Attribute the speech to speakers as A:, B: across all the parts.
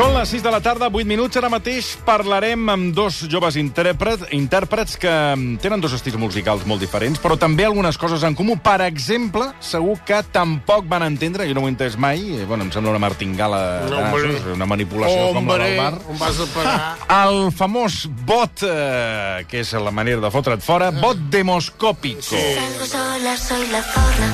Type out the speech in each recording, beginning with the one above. A: Són les 6 de la tarda, 8 minuts. Ara mateix parlarem amb dos joves intèrprets, intèrprets que mm, tenen dos estils musicals molt diferents, però també algunes coses en comú. Per exemple, segur que tampoc van entendre, jo no ho he entès mai, eh, bueno, em sembla una martingala,
B: No,
A: de
B: hombre.
A: nassos, una manipulació com la
B: Hombre,
A: del bar.
B: on vas a parar?
A: El famós bot, eh, que és la manera de fotre't
B: Ah.
A: fora, bot demoscòpico.
C: Salgo sola, soy la zorra.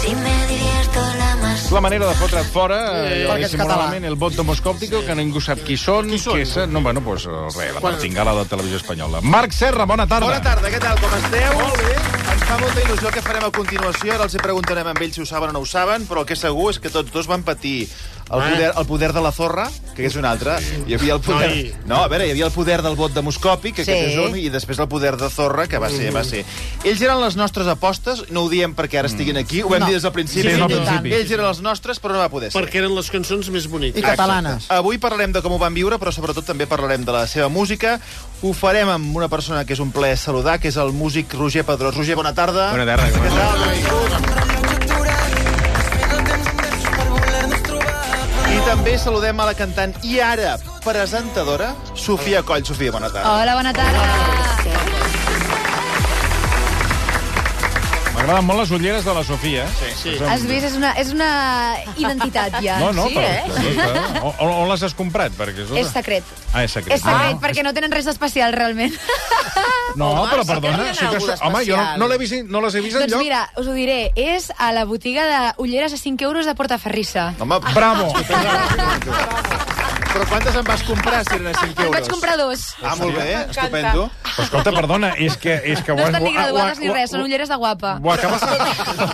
C: Si me divierto la más.
A: És la manera de fotre't fora, eh,
D: perquè és
A: diguéssim,
D: català.
A: normalment, el bot demoscòptico, que ningú sap qui són, qui,
B: són?
A: és... No, bueno, doncs, eh, res, la martingala de Televisió Espanyola. Marc Serra, bona tarda.
E: Bona tarda, què tal? Com esteu? Molt bé. Ens fa molta il·lusió el que farem a continuació. Ara els hi preguntarem amb ells si ho saben o no ho saben, però el que és segur és que tots dos van patir el poder, el poder de la zorra, que és un altre. Hi havia el poder...
B: Noi.
E: No, a veure, hi havia el poder del vot demoscòpic, que
D: Sí.
E: aquest és un, i després el poder de zorra, que va ser, va ser. Ells eren les nostres apostes, no ho diem perquè ara estiguin aquí, ho hem
D: No.
E: dit des del principi.
D: Sí,
A: des del
E: I tant.
A: principi.
E: Ells eren les nostres, però no va poder ser.
B: Perquè eren les cançons més
D: I
B: boniques.
D: catalanes.
E: Avui parlarem de com ho van viure, però sobretot també parlarem de la seva música. Ho farem amb una persona que és un plaer saludar, que és el músic Roger Pedrós. Roger, bona tarda.
F: Bona tarda, com
E: Què tal? Benvingut. I també saludem a la cantant i ara presentadora, Sofia Coll. Sofia, bona tarda.
G: Hola, bona tarda.
A: M'agraden molt les ulleres de la Sofia. eh? Sí,
B: sí.
G: Has vist? És una, és una identitat, ja.
A: No, no,
G: sí,
A: però,
G: eh?
A: eh? on, on les has comprat? Perquè, escolta...
G: És secret.
A: Ah, és secret.
G: És secret, perquè no tenen res d'especial, realment.
A: No,
D: Home,
A: però
D: sí que
A: perdona.
D: tenen
A: Sí que
D: alguna
A: so- Home, jo no,
D: especial.
A: no, l'he vist, no les he vist
G: doncs
A: enlloc.
G: mira, us ho diré. És a la botiga de ulleres a 5 euros de Portaferrissa.
E: Home,
A: Bravo.
E: però quantes en vas comprar, si eren a 5
G: En
E: euros?
G: vaig comprar dos.
E: Ah, molt bé, estupendo.
A: Però escolta, perdona, és que... És que
G: No estan ni graduades ni res, són ulleres de guapa.
A: Ho acabes, de,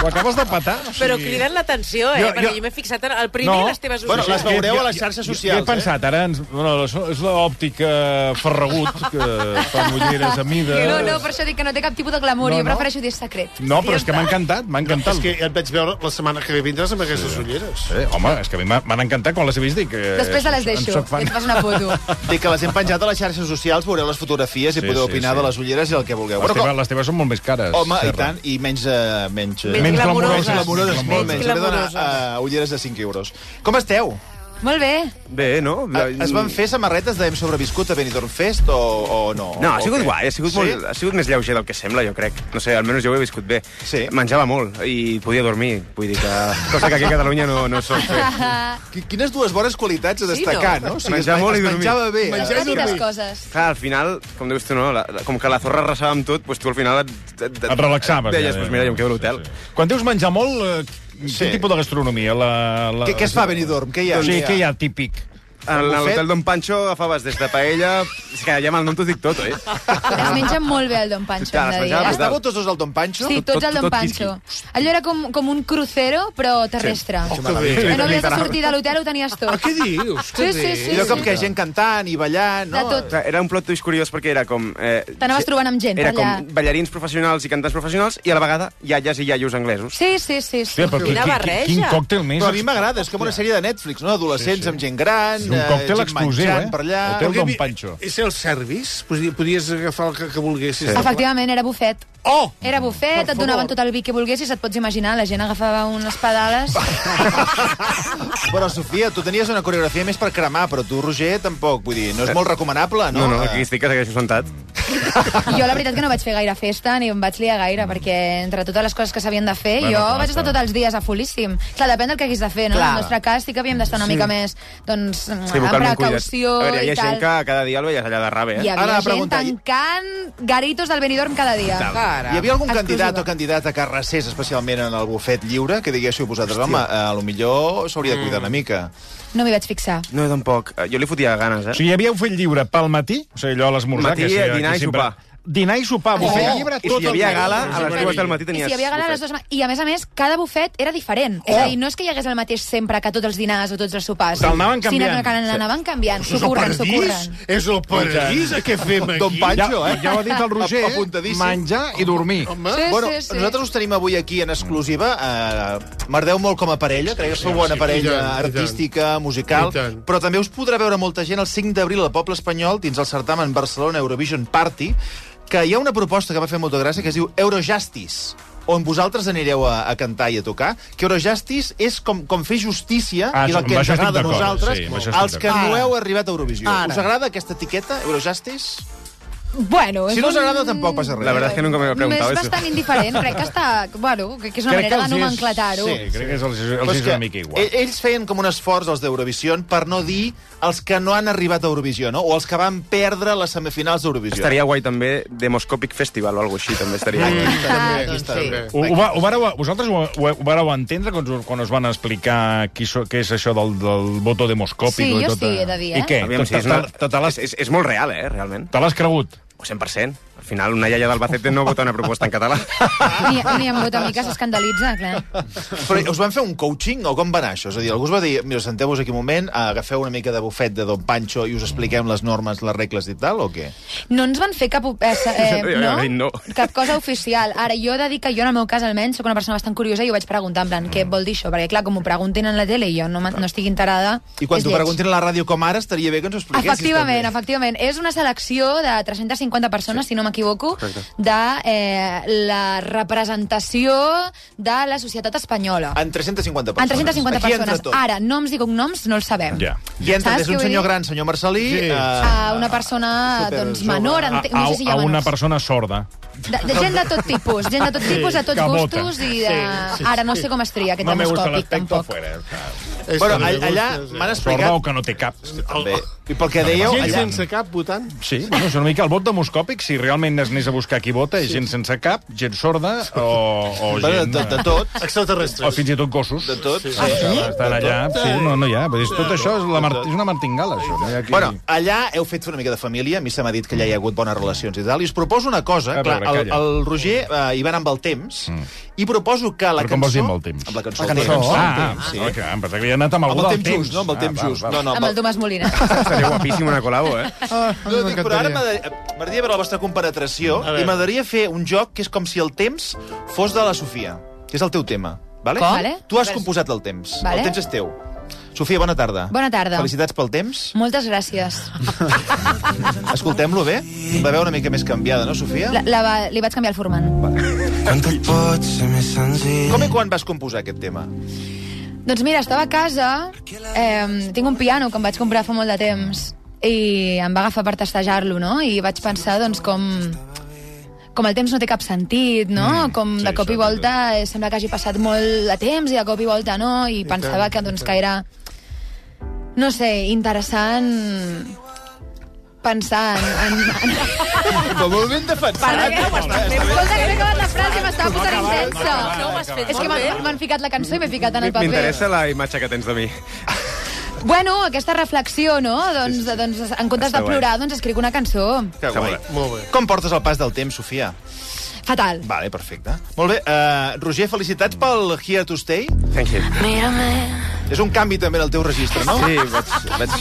A: ho acabes de patar. O sigui...
H: Però criden l'atenció,
A: Jo-
H: eh? Jo, Perquè
A: jo-
H: jo, m'he fixat en el primer
A: No.
H: no. les teves
E: Bueno,
H: orelles.
E: les veureu a les
A: Jo-
E: xarxes
A: jo-
E: socials,
A: Jo
E: eh?
A: he pensat, ara, ens, bueno, és l'òptica Ferragut, que fa ulleres a mida...
G: No, no, per això dic que no té cap tipus de glamour,
A: No,
G: jo
A: no.
G: prefereixo dir secret.
A: No, però és que m'ha encantat, m'ha
B: És
A: encantat.
B: que et vaig veure la setmana que ve vindràs amb aquestes ulleres.
A: Eh, home, és que a mi m'ha- m'han encantat quan les he vist. Dic, eh,
G: Després te les
A: en
G: deixo,
A: soc
G: i
A: fan.
G: et fas una foto.
E: Té que les hem penjat a les xarxes socials, veureu les fotografies i
A: Sí,
E: podeu
A: sí,
E: opinar
A: sí.
E: de les ulleres i el que vulgueu.
A: Les
E: Bueno,
A: teves, les teves són molt més cares.
E: Home, i
A: Serra.
E: tant, i menys... eh, menys, eh,
A: Menys
E: menys
A: glamuroses.
E: glamuroses, molt menys. Hauré d'anar
H: glamuroses.
E: a ulleres de 5 euros. Com esteu? Eh,
G: Molt bé.
F: Bé, no?
E: Ah,
F: Mm.
E: Es van fer samarretes de Hem sobreviscut a Benidorm Fest o, o no?
F: No, ha
E: O
F: sigut
E: què?
F: guai, ha sigut,
E: Sí?
F: molt, ha sigut més lleuger del que sembla, jo crec. No sé, almenys jo ho he viscut bé.
E: Sí.
F: Menjava molt i podia dormir. Vull dir que... Cosa que aquí a Catalunya no, no sol fer.
E: Qui- Quines dues bones qualitats a destacar, no? O
F: Menjar
E: es-
F: molt i
E: es
F: dormir.
E: menjava bé. eh?
G: Les petites coses.
F: Clar, al final, com dius tu, no? La, la- com que la zorra arrasava amb tot, doncs tu al final et, et, et,
A: Et relaxaves.
F: Deies,
A: ja,
F: doncs
A: ja.
F: mira, jo em quedo a l'hotel.
A: Sí, sí. Quan dius menjar molt, eh, quin
E: Sí.
A: tipus de gastronomia? La, la...
E: Què, què es fa a Benidorm? Què hi ha?
A: Sí, què hi ha típic?
F: En
E: Bufet?
F: l'hotel Don Pancho agafaves des de paella... És que ja amb el nom t'ho dic tot, eh?
G: Es mengen molt bé el Don Pancho,
F: Clar,
G: hem de
F: les
G: dir.
F: menjava
G: eh?
F: brutal.
E: Estàveu tots dos al Don Pancho?
G: Sí,
F: Tot-
G: tots
F: tot-
G: al Don
F: tot
G: Pancho. Allò era com, com un crucero, però terrestre.
B: Oh, que bé.
G: Que no havies de sortir de l'hotel, ho tenies tot.
B: Què dius?
G: Sí, sí,
E: I
G: sí.
E: allò com que hi ha gent cantant i ballant, no?
G: De tot.
F: Clar, Era un plot twist curiós perquè era com... Eh,
G: T'anaves
F: ge-
G: trobant amb gent
F: Era
G: per allà.
F: com ballarins professionals i cantants professionals i a la vegada iaies i iaios anglesos.
G: Sí, sí, sí. sí.
A: Hòstia, però qui-
H: Quina
A: qui-
H: barreja.
A: Quin còctel més...
E: Però a mi m'agrada, és com una sèrie de Netflix, no? Adolescents amb gent gran,
A: És un
E: eh,
A: còctel
E: gent
A: exclusiu,
E: menjant
A: eh?
E: per allà...
A: Hotel
B: Perquè
A: Don
B: vi-
A: Pancho.
B: És el service? Podies, podies agafar el que, que volguessis.
G: Efectivament, era bufet.
B: Oh!
G: Era bufet, et donaven tot el vi que volguessis, et pots imaginar, la gent agafava unes pedales.
E: Però, Sofia, tu tenies una coreografia més per cremar, però tu, Roger, tampoc. Vull dir, no és molt recomanable, no?
F: No, no, aquí estic que segueixo sentat.
G: Jo la veritat que no vaig fer gaire festa ni em vaig liar gaire, perquè entre totes les coses que s'havien de fer,
A: Bueno,
G: jo
A: clar,
G: vaig estar
A: clar.
G: tots els dies a folíssim. Clar, depèn del que hagués de fer, no? En el nostre cas sí que havíem d'estar una mica més, doncs, amb
F: vocalment cuidat.
G: precaució
F: A veure, hi
G: i
F: ha gent
G: tal.
F: que cada dia el veies allà de rave, eh?
G: Hi havia
E: Ara, la
G: gent
E: pregunta, i-
G: tancant garitos del Benidorm cada dia.
H: Cara.
E: Hi havia algun
G: Exclusiva.
E: candidat o candidata que recés especialment en el bufet lliure que diguéssiu vosaltres, home, eh, a lo millor s'hauria de
F: Mm.
E: cuidar una mica.
G: No m'hi vaig fixar.
F: No, jo tampoc. Eh, Jo li fotia ganes,
A: O
F: eh?
A: sigui, hi havia un fill lliure pel matí, o sigui, allò a l'esmorzar...
F: Matí, eh,
A: que sí, aquí
F: dinar i
A: sempre-
F: sopar.
A: Dinar i
G: Ah,
A: sopar,
F: I si hi
A: bufet
F: ha-
A: lliure
F: I
A: tot
F: si hi havia
A: el dia.
F: gala, a les
A: Superbé.
F: 2 del matí
G: I
F: tenies...
G: si hi havia gala a les dues... ma- I, a més a més, cada bufet era diferent. És a dir, no és que hi hagués el mateix sempre que a tots els dinars o tots els sopars.
A: Te'l anaven
G: Sí,
A: canviant.
G: que l'anaven canviant.
B: És el
G: S'ocorren,
B: paradís?
G: s'ocorren.
B: És el
F: doncs,
B: paradís el que fem aquí?
E: Don Pancho,
A: Ja,
E: eh?
A: ja ho ha dit el Roger,
E: Ap- Apuntadíssim.
A: menjar i dormir.
B: Home,
G: Sí,
E: bueno,
G: sí, sí.
E: nosaltres us tenim avui aquí en exclusiva. Eh, Merdeu molt com a parella, crec que sou bona
B: sí,
E: parella
B: i tant, i tant.
E: artística, musical,
B: I tant.
E: però també us podrà veure molta gent el 5 d'abril al Poble Espanyol dins el certamen Barcelona Eurovision Party, que hi ha una proposta que va fer molta gràcia que es diu Eurojustice on vosaltres anireu a, a cantar i a tocar, que Eurojustice és com, com fer justícia,
A: Ah,
E: i és el
A: amb
E: que ens
A: això estic
E: agrada a
A: d'acord,
E: nosaltres,
A: sí, amb això
E: sí,
A: estic
E: els que
A: d'acord.
E: no heu arribat a Eurovisió.
D: Ara.
E: Us agrada aquesta etiqueta, Eurojustice?
G: Bueno, és
E: Si no us
G: un-
E: agrada, tampoc passa res.
F: La verdad es que nunca me lo he preguntado
G: És
F: eso.
G: bastant indiferent, crec que està... Bueno, crec que és una
A: Crec que
G: manera de
A: els és-
G: nomenclatar-ho.
A: Sí, crec que és els, els
E: Però
A: és
E: és
A: una mica
F: eh,
A: igual.
E: e- Ells feien com un esforç, els d'Eurovisió, per no dir els que no han arribat a Eurovisió, no? o els que van perdre les semifinals d'Eurovisió.
F: Estaria guai també Demoscopic Festival o alguna cosa així, també estaria guai.
E: Aquí
G: Ah,
E: també, aquí
D: doncs
E: està.
D: sí.
A: Ho, ho,
F: eh,
A: va, ho vareu, vosaltres ho, ho, ho vareu entendre quan, us- quan us van explicar qui, so, què és això del, del voto demoscòpic?
G: Sí,
A: i
G: jo
A: tot,
G: sí,
A: eh?
G: he de dir, eh?
A: I què?
F: Aviam, si
A: Te-
F: és, una...
A: te- te- te l'has-
F: és, és, és molt real, eh, realment.
A: Te l'has cregut?
F: 100%. Al final, una iaia d'Albacete no vota una proposta en català.
G: Ni, ni amb una mica s'escandalitza, clar.
E: Però us van fer un coaching o com va anar això? És a dir, algú us va dir, mira, senteu-vos aquí un moment, agafeu una mica de bufet de Don Pancho i us expliquem les normes, les regles i tal, o què?
G: No ens van fer cap... op- Eh, se- eh, no?
F: No.
G: Cap cosa oficial. Ara, jo he de dir que jo, en el meu cas, almenys, sóc una persona bastant curiosa i ho vaig preguntar, en plan, què vol dir això? Perquè, clar, com ho preguntin en la tele i jo no, me- no estic enterada...
E: I quan
G: és
E: t'ho
G: lleig.
E: preguntin a la ràdio com ara, estaria bé que ens ho expliquessis.
G: Efectivament,
E: també.
G: efectivament. És una selecció de 350 persones, sí. si no m'equivoco, de eh, la representació de la societat espanyola.
E: En 350
G: En
E: persones.
G: 350
E: Aquí entra
G: persones.
E: tot.
G: Ara, noms i cognoms no els sabem.
A: Ja.
E: Hi entra
G: Saps
E: des
G: què
E: d'un
G: vull
E: senyor
G: dir?
E: gran, senyor Marcelí...
A: Sí.
E: eh,
G: A una persona
E: Superjove.
G: doncs, menor,
A: A,
G: entenc,
A: a,
G: no sé si
A: a
G: ja
A: una
G: menors.
A: persona sorda.
G: De, de gent de tot tipus, gent de tot tipus, de tots
A: que vota.
G: gustos i de...
D: Sí, sí,
G: Ara no sé com es tria aquest
A: No me gusta el
G: demoscòpic,
A: aspecto
G: tampoc.
A: fuera.
E: Bueno, all- allà m'han
A: Sorda o
E: explicat...
A: que no té cap.
E: Bé. I pel que dèieu,
B: Gent
E: allà...
B: sense cap votant.
A: Sí, bueno, és una mica el vot demoscòpic. Si realment es anés a buscar qui vota, és gent sense cap, gent sorda o, o
E: Bueno,
A: gent...
E: de, de tot,
A: O
B: Extraterrestres.
A: fins i tot gossos. Ah,
E: de tot. Sí.
A: Estan allà, sí, no, no hi ha. Vull dir, Tot això és, la mar és una martingala, això. No hi ha qui...
E: Bueno, allà heu fet una mica de família, a mi se m'ha dit que allà hi ha hagut bones relacions i tal, i us proposo una cosa,
A: A
E: clar,
A: veure,
E: el,
A: calla.
E: el Roger eh, hi va anar amb el temps, mm. i proposo que la
A: Però
E: cançó...
A: com vols dir amb el temps?
E: Amb la cançó.
A: La cançó. Ah, ah, sí. no, clar, em pensava que havia anat amb
E: Amb
A: algú
E: el
A: del
E: temps just, no? Amb el temps
A: Ah,
E: just.
A: val,
E: No,
A: val.
E: no,
G: Amb el Tomàs Molina.
F: Estaria guapíssim una col·labo, eh?
E: No, dic, però ara m'agrada- m'agradaria veure la vostra comparació i m'agradaria fer un joc que és com si el temps fos de la Sofia, que és el teu tema. Vale?
G: Com? Vale.
E: Tu has composat el temps.
G: Vale.
E: El temps és teu. Sofia, bona tarda.
G: Bona tarda.
E: Felicitats pel temps.
G: Moltes gràcies.
E: Escoltem-lo bé. La veu una mica més canviada, no, Sofia?
G: La, la, va- li vaig canviar el formant.
I: Quanto pot ser més senzill?
E: Com i quan vas composar aquest tema?
G: Doncs mira, estava a casa, eh, tinc un piano que em vaig comprar fa molt de temps i em va agafar per testejar-lo, no? I vaig pensar, doncs, com... Com el temps no té cap sentit, no? Mm, com de
A: sí,
G: cop i
A: això
G: volta eh, sembla que hagi passat molt de temps i de cop i volta no, i, pensava que, doncs, que era... No sé, interessant pensar en... en, en...
E: Com ho ben defensat.
G: Escolta, que no he acabat la frase, m'estava posant intensa.
H: No, ho has fet
G: És que
H: molt bé.
G: m'han- m'han ficat la cançó i m'he ficat en el paper.
F: M'interessa la imatge que tens de mi.
G: Bueno, aquesta reflexió, no? Doncs,
F: Sí, sí, sí.
G: doncs en comptes
F: Està
G: de plorar, doncs escric una cançó.
E: Que guai.
B: Molt bé.
E: Com portes el pas del temps, Sofia?
G: Fatal.
E: Vale, perfecte. Molt bé. Uh, Roger, felicitats pel Here to Stay.
F: Thank you.
C: Mírame.
E: És un canvi també en el teu registre, no?
F: Sí, vaig, vaig,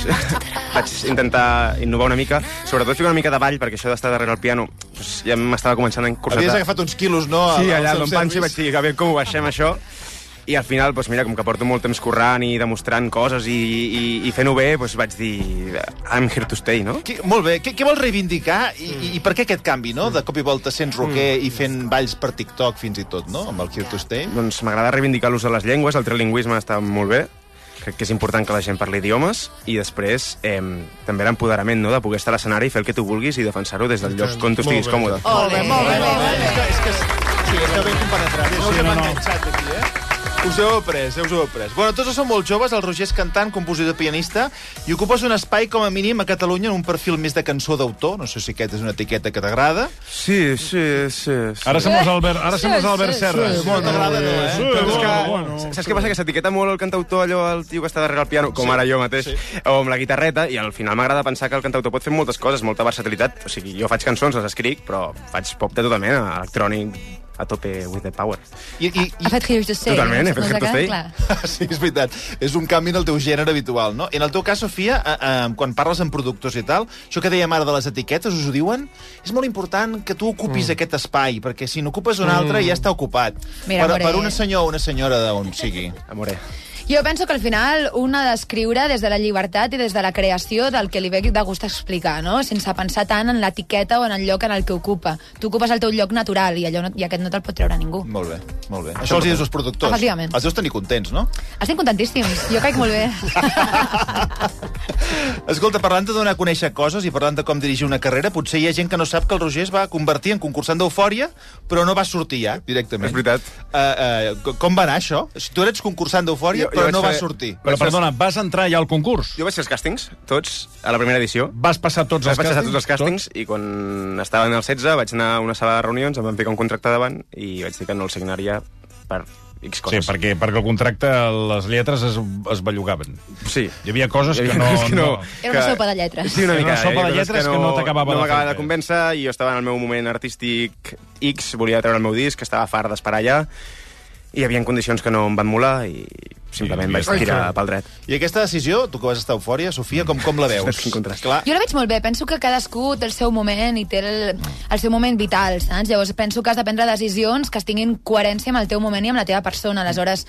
F: vaig intentar innovar una mica, sobretot ficar una mica de ball, perquè això d'estar darrere el piano doncs, ja m'estava començant a encursar.
E: Havies agafat uns quilos, no? al-
F: Sí,
E: al
F: allà,
E: seu
F: d'on Panxi, vaig
E: service?
F: dir, a veure com ho baixem, això. I al final, doncs, mira, com que porto molt temps currant i demostrant coses i, i, i fent-ho bé, doncs, vaig dir, I'm here to stay, no?
E: Qui, molt bé. Què, què vols reivindicar i, i, i per què aquest canvi, no? De cop i volta sent roquer mm. i fent balls per TikTok fins i tot, no? Amb el Here to Stay.
F: Doncs m'agrada reivindicar l'ús de les llengües, el trilingüisme està molt bé, crec que és important que la gent parli idiomes i després eh, també l'empoderament no? de poder estar a l'escenari i fer el que tu vulguis i defensar-ho des del lloc on tu estiguis còmode.
E: Molt bé, molt bé, molt bé. És que, és que, sí, està ben compenetrat. No us hem enganxat aquí, eh? Us heu après, eh? us heu après. Bueno, tots dos són molt joves, el Roger és cantant, compositor, pianista, i ocupes un espai, com a mínim, a Catalunya, en un perfil més de cançó d'autor. No sé si aquest és una etiqueta que t'agrada.
F: Sí, sí, sí. sí.
A: Ara som els Albert, ara som els Albert Serra. Sí,
E: No t'agrada, no, eh?
A: bueno,
F: Però és que,
A: bueno.
F: saps què passa? Que s'etiqueta molt el cantautor, allò, el tio que està darrere el piano, com ara jo mateix, o amb la guitarreta, i al final m'agrada pensar que el cantautor pot fer moltes coses, molta versatilitat. O sigui, jo faig cançons, les escric, però faig pop de tota mena, electrònic, a tope with the power.
E: I, i,
G: Ha
E: i...
G: fet Here's to Stay.
F: Totalment,
G: no?
F: he fet
G: Doncs
F: Here's to
G: acaba-
F: Stay.
G: clar.
E: Sí, és veritat. És un canvi en el teu gènere habitual, no? En el teu cas, Sofia, eh, eh, quan parles amb productors i tal, això que dèiem ara de les etiquetes, us ho diuen? És molt important que tu ocupis mm. aquest espai, perquè si n'ocupes un altre ja està ocupat.
G: Mira,
E: per,
G: amore.
E: per una senyor o una senyora d'on sigui.
F: Amore.
G: Jo penso que al final un ha d'escriure des de la llibertat i des de la creació del que li ve de gust explicar, no? sense pensar tant en l'etiqueta o en el lloc en el que ocupa. Tu ocupes el teu lloc natural i, allò no, i aquest no te'l pot treure ningú.
E: Molt bé, molt bé. Això els hi dius als productors.
G: Efectivament.
E: Els deus tenir contents, no?
G: Estic contentíssims, jo caic molt bé.
E: Escolta, parlant de donar a conèixer coses i parlant de com dirigir una carrera, potser hi ha gent que no sap que el Roger es va convertir en concursant d'Eufòria, però no va sortir ja, directament.
F: És veritat.
E: Uh, uh, com va anar això? Si tu eres concursant d'Eufòria,
F: Jo- jo
E: però
F: vaig
E: no vas
F: fer-
E: sortir.
A: Però, perdona, vas entrar ja al concurs?
F: Jo vaig fer els càstings, tots, a la primera edició.
A: Vas passar tots
F: Vaig
A: els
F: passar
A: càstings?
F: tots els càstings i quan estava en el 16 vaig anar a una sala de reunions, em van ficar un contracte davant i vaig dir que no el signaria per X
A: Sí,
F: coses.
A: perquè, perquè el contracte, les lletres es, es bellugaven.
F: Sí.
A: Hi havia coses
F: Hi havia
A: que no...
F: coses que no.
G: Era una
F: Que-
G: sopa de lletres.
F: Sí, una
A: Era
F: mica. eh,
A: una sopa
F: hi havia
A: de
F: coses
A: lletres que no t'acabava
F: no
A: de
F: m'acabava
A: fer
F: de
A: res.
F: convèncer i jo estava en el meu moment artístic X, volia treure el meu disc, estava fart d'esperar allà i hi havia condicions que no em van molar i simplement
A: I- i
F: vaig
A: ja està.
F: tirar pel dret.
E: I aquesta decisió, tu que vas estar a Eufòria, Sofia, com, com la veus?
F: Quin contrast.
E: Clar,
G: Jo la veig molt bé, penso que cadascú té el seu moment i té el, el seu moment vital, saps? Llavors penso que has de prendre decisions que tinguin coherència amb el teu moment i amb la teva persona, aleshores...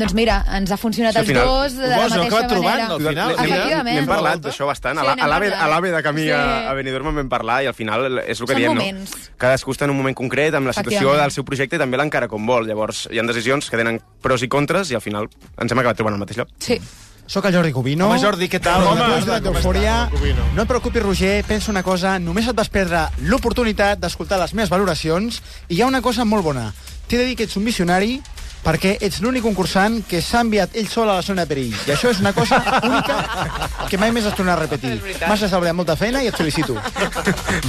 G: Doncs mira, ens ha funcionat
F: Sí, al
G: els
F: final,
G: dos de
E: ho
G: la
E: vols, no?
G: mateixa
E: Acabat trobant,
G: manera.
E: no? Al final,
F: N'hem-
G: Efectivament.
F: N'hem parlat d'això bastant.
G: Sí,
F: a la-
G: n'hem
F: a l'AVE
G: parlat.
F: a l'AVE de camí a,
G: Sí.
F: a Benidorm en vam parlar i al final és el que
G: Són
F: diem,
G: moments.
F: no? Cadascú està en un moment concret, amb la situació
G: Efectivament.
F: del seu projecte i també l'encara com vol. Llavors, hi ha decisions que tenen pros i contres i al final ens hem acabat trobant al mateix lloc.
G: Sí.
D: Sóc el Jordi Covino.
E: Home, Jordi, què tal?
D: Home,
E: Bona
D: home,
E: tarda,
D: home,
E: com
D: d'eufòria. No et preocupis, Roger, pensa una cosa, només et vas perdre l'oportunitat d'escoltar les meves valoracions i hi ha una cosa molt bona. T'he de dir que ets un missionari perquè ets l'únic concursant que s'ha enviat ell sol a la zona de perill. I això és una cosa única que mai més es tornarà a repetir. M'has estalviat molta feina i et felicito.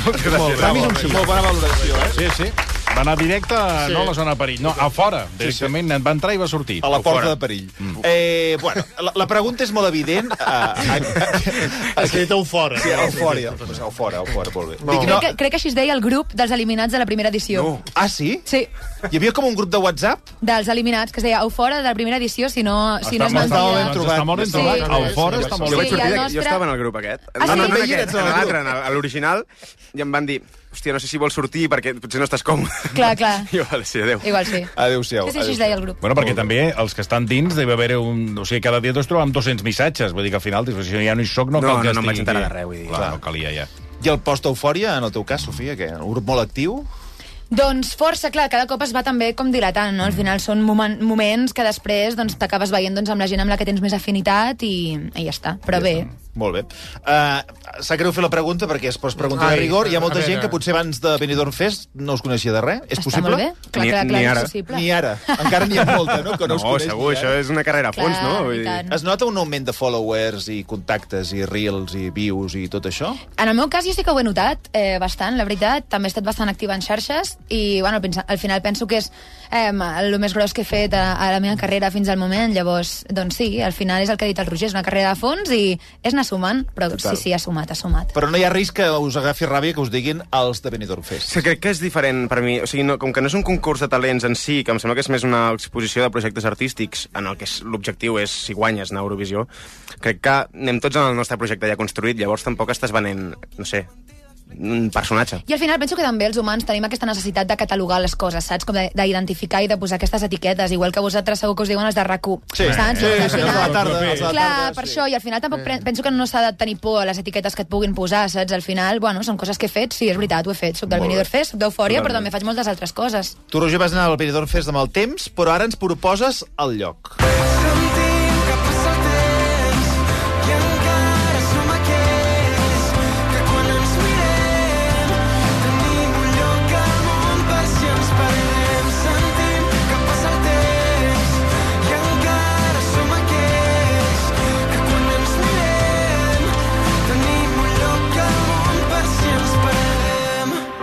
F: Moltes gràcies.
D: Per mi és un sí.
E: molt bona valoració, eh?
A: Sí, sí. Va anar directe, sí. no a la zona de perill. No, a fora, directament. Sí, sí. Va entrar i va sortir.
E: A la porta
A: fora.
E: de perill. Mm. Eh, bueno, la, la pregunta és molt evident. Eh, eh,
B: Has dit eufòria.
E: Sí, eufòria. Pues eufòria, eufòria, molt bé. Dic,
G: Crec, que, crec que així es deia el grup dels eliminats de la primera edició.
E: no. Ah, sí?
G: Sí,
E: Hi havia com un grup de WhatsApp?
G: dels eliminats, que es deia Eufora de la primera edició, si no, si no es
A: molt-
E: estava
G: mantenia.
E: ben
A: Doncs està molt ben
E: Sí.
A: trobat.
G: Sí.
A: A fora està molt
F: Jo
A: ben
F: vaig
G: Sí,
A: trobat.
F: sortir,
G: el
F: de-
G: nostre-
F: jo estava en el grup aquest.
G: Ah, sí?
F: no, no,
G: També
F: en
G: hi
F: aquest,
E: eres, en
F: en
E: el
F: l'altre, en el- a l'original, i em van dir, hòstia, no sé si vols sortir perquè potser no estàs còmode.
G: Clar, clar.
F: Jo, vale, sí, adéu.
G: Igual sí.
E: Adéu-siau.
G: Sí, sí, així es deia el grup.
A: Bueno, perquè també els que estan dins deve haver un... O sigui, cada dia t'has trobat amb 200 missatges. Vull dir que al final, dius, si ja no hi soc, no,
F: No,
A: cal que
F: no, no em
A: estigui
F: vaig enterar
A: aquí.
F: de res, vull dir.
A: Clar,
E: Clar.
A: no calia ja.
E: I el post-eufòria, en el teu cas, Sofia, què? Un grup molt actiu?
G: Doncs força, clar, cada cop es va també com dilatant, no? Al final són momen moments que després doncs, t'acabes veient doncs, amb la gent amb la que tens més afinitat i, i ja està. Però bé,
E: Molt bé. Uh, sap greu fer la pregunta perquè es pots preguntar de
B: Ai,
E: rigor. Hi ha molta
B: a veure.
E: gent que potser abans de Benidorm Fest no us coneixia de res. És
G: està molt
E: possible?
G: bé. Clar,
F: Ni-
G: clar,
F: ni
G: clar, és
F: ara.
G: possible.
E: Ni ara. Encara n'hi ha molta, no? Que
F: No,
E: no, us coneix
F: segur,
E: ni ara.
F: això és una carrera a fons,
G: Clar,
F: no?
G: i tant.
E: Es nota un augment de followers i contactes i reels i views i tot això?
G: En el meu cas jo sí que ho he notat eh, bastant, la veritat. També he estat bastant activa en xarxes i bueno, al, pinça- al final penso que és eh, el més gros que he fet a, a la meva carrera fins al moment. Llavors, doncs sí, al final és el que ha dit el Roger, és una carrera de fons i és anar sumant, però
E: Total.
G: sí, sí, ha sumat, ha sumat.
E: Però no hi ha risc que us agafi ràbia que us diguin els de Benidorm Fest.
F: Sí, crec que és diferent per mi. O sigui, no, com que no és un concurs de talents en si, que em sembla que és més una exposició de projectes artístics en el que és- l'objectiu és, si guanyes, anar a Eurovisió, crec que anem tots en el nostre projecte ja construït, llavors tampoc estàs venent, no sé, un personatge.
G: I al final penso que també els humans tenim aquesta necessitat de catalogar les coses, saps? Com de- d'identificar i de posar aquestes etiquetes, igual que vosaltres segur que us diuen els de RAC1,
E: Sí,
G: saps?
E: sí,
G: Doncs al
E: sí, els de la tarda, els de la
G: Clar,
E: tarda,
G: per
E: sí.
G: això, i al final tampoc pre- penso que no s'ha de tenir por a les etiquetes que et puguin posar, saps? Al final, bueno, són coses que he fet, sí, és veritat, ho he fet. Soc del
E: Molt bé.
G: Benidorm Fest, soc d'Eufòria, però
E: Totalment.
G: també faig moltes altres coses.
E: Tu, Roger, vas anar al Benidorm Fest de mal temps, però ara ens proposes el lloc.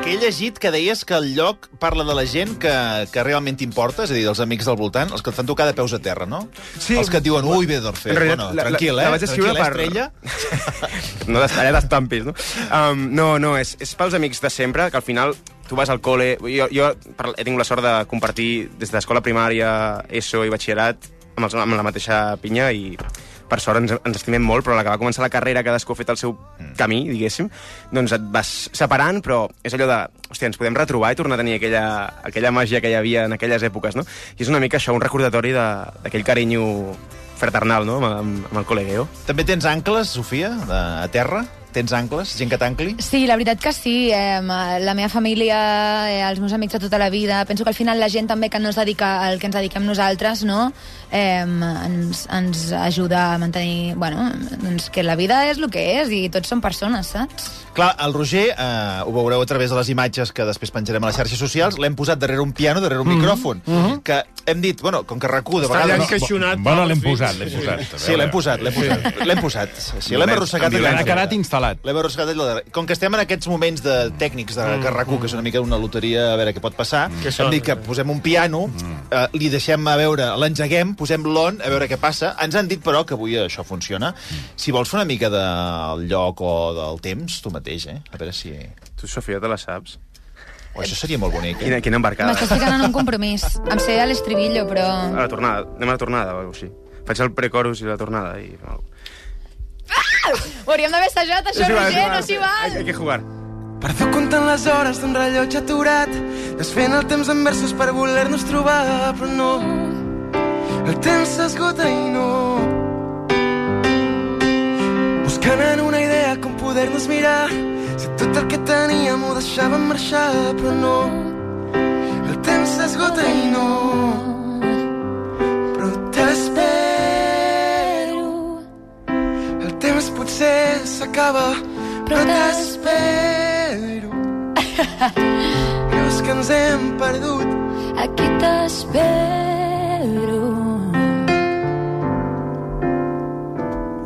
E: Que he llegit que deies que el lloc parla de la gent que, que realment t'importa, és a dir, dels amics del voltant, els que et fan tocar de peus a terra, no?
F: Sí.
E: Els que et diuen, ui, Benidorm Fest.
F: En realitat,
E: bueno,
F: la- la-
E: tranquil, eh?
F: la vaig escriure
E: Tranquil, eh,
F: per-
E: estrella.
F: No, t'est- allà t'estampis, no? Um, no, no, és, és pels amics de sempre, que al final tu vas al col·le... Jo, jo per- he tingut la sort de compartir des d'escola primària, ESO i batxillerat amb, els, amb la mateixa pinya i per sort ens, ens estimem molt, però a la que va començar la carrera cadascú ha fet el seu camí, diguéssim, doncs et vas separant, però és allò de, hòstia, ens podem retrobar i tornar a tenir aquella, aquella màgia que hi havia en aquelles èpoques, no? I és una mica això, un recordatori de- d'aquell carinyo fraternal, no?, amb, amb, amb el col·legueo.
E: També tens ancles, Sofia, de, a terra? Tens ancles? Gent que t'ancli?
G: Sí, la veritat que sí. Eh, ma- la meva família, eh, els meus amics de tota la vida... Penso que al final la gent també que no es dedica al que ens dediquem nosaltres, no? Eh, ens, ens ajuda a mantenir... Bueno, doncs que la vida és el que és i tots som persones, saps?
E: Clar, el Roger, eh, ho veureu a través de les imatges que després penjarem a les xarxes socials, l'hem posat darrere un piano, darrere
F: Mhm.
E: un micròfon, que hem dit, bueno, com que recu, de
B: Està allà
E: vegades... No,
B: encaixonat.
A: Bueno, l'hem
B: Sí.
A: posat, l'hem posat. A
E: sí, l'hem
A: veure.
E: posat, l'hem posat. L'hem posat. Sí, l'hem
F: Violència,
E: arrossegat allà.
A: Ha
F: violència.
E: darrere.
A: quedat instal·lat.
E: L'hem arrossegat allà. darrere. Com que estem en aquests moments de tècnics de que recu, que és una mica una loteria a veure què pot passar, hem
B: sort.
E: dit que posem un piano, eh, li deixem a veure, l'engeguem, posem l'on, a veure què passa. Ens han dit, però, que avui això funciona. Si vols fer una mica del lloc o del temps, tu mateix, eh? A veure si...
F: Tu, Sofia, te la saps?
E: Oh, això seria molt bonic, eh?
F: Quina, quina embarcada.
G: M'estàs ficant en un compromís. Em sé l'estribillo, però...
F: A la tornada, anem a la tornada o alguna cosa així. Faig el precorus i la tornada i... Bueno.
G: Ho hauríem d'haver assajat, això, Roger, no s'hi
F: Hay,
G: val!
F: hay que jugar.
I: Perdó comptant les hores d'un rellotge aturat, desfent el temps en versos per voler-nos trobar, però no, el temps s'esgota i no. Buscant en una idea com poder-nos mirar, si tot el que teníem ho deixàvem marxar, però no, el temps s'esgota i no. Però t'espero, el temps potser s'acaba, però t'espero. Creus que ens hem perdut?
C: Aquí t'espero.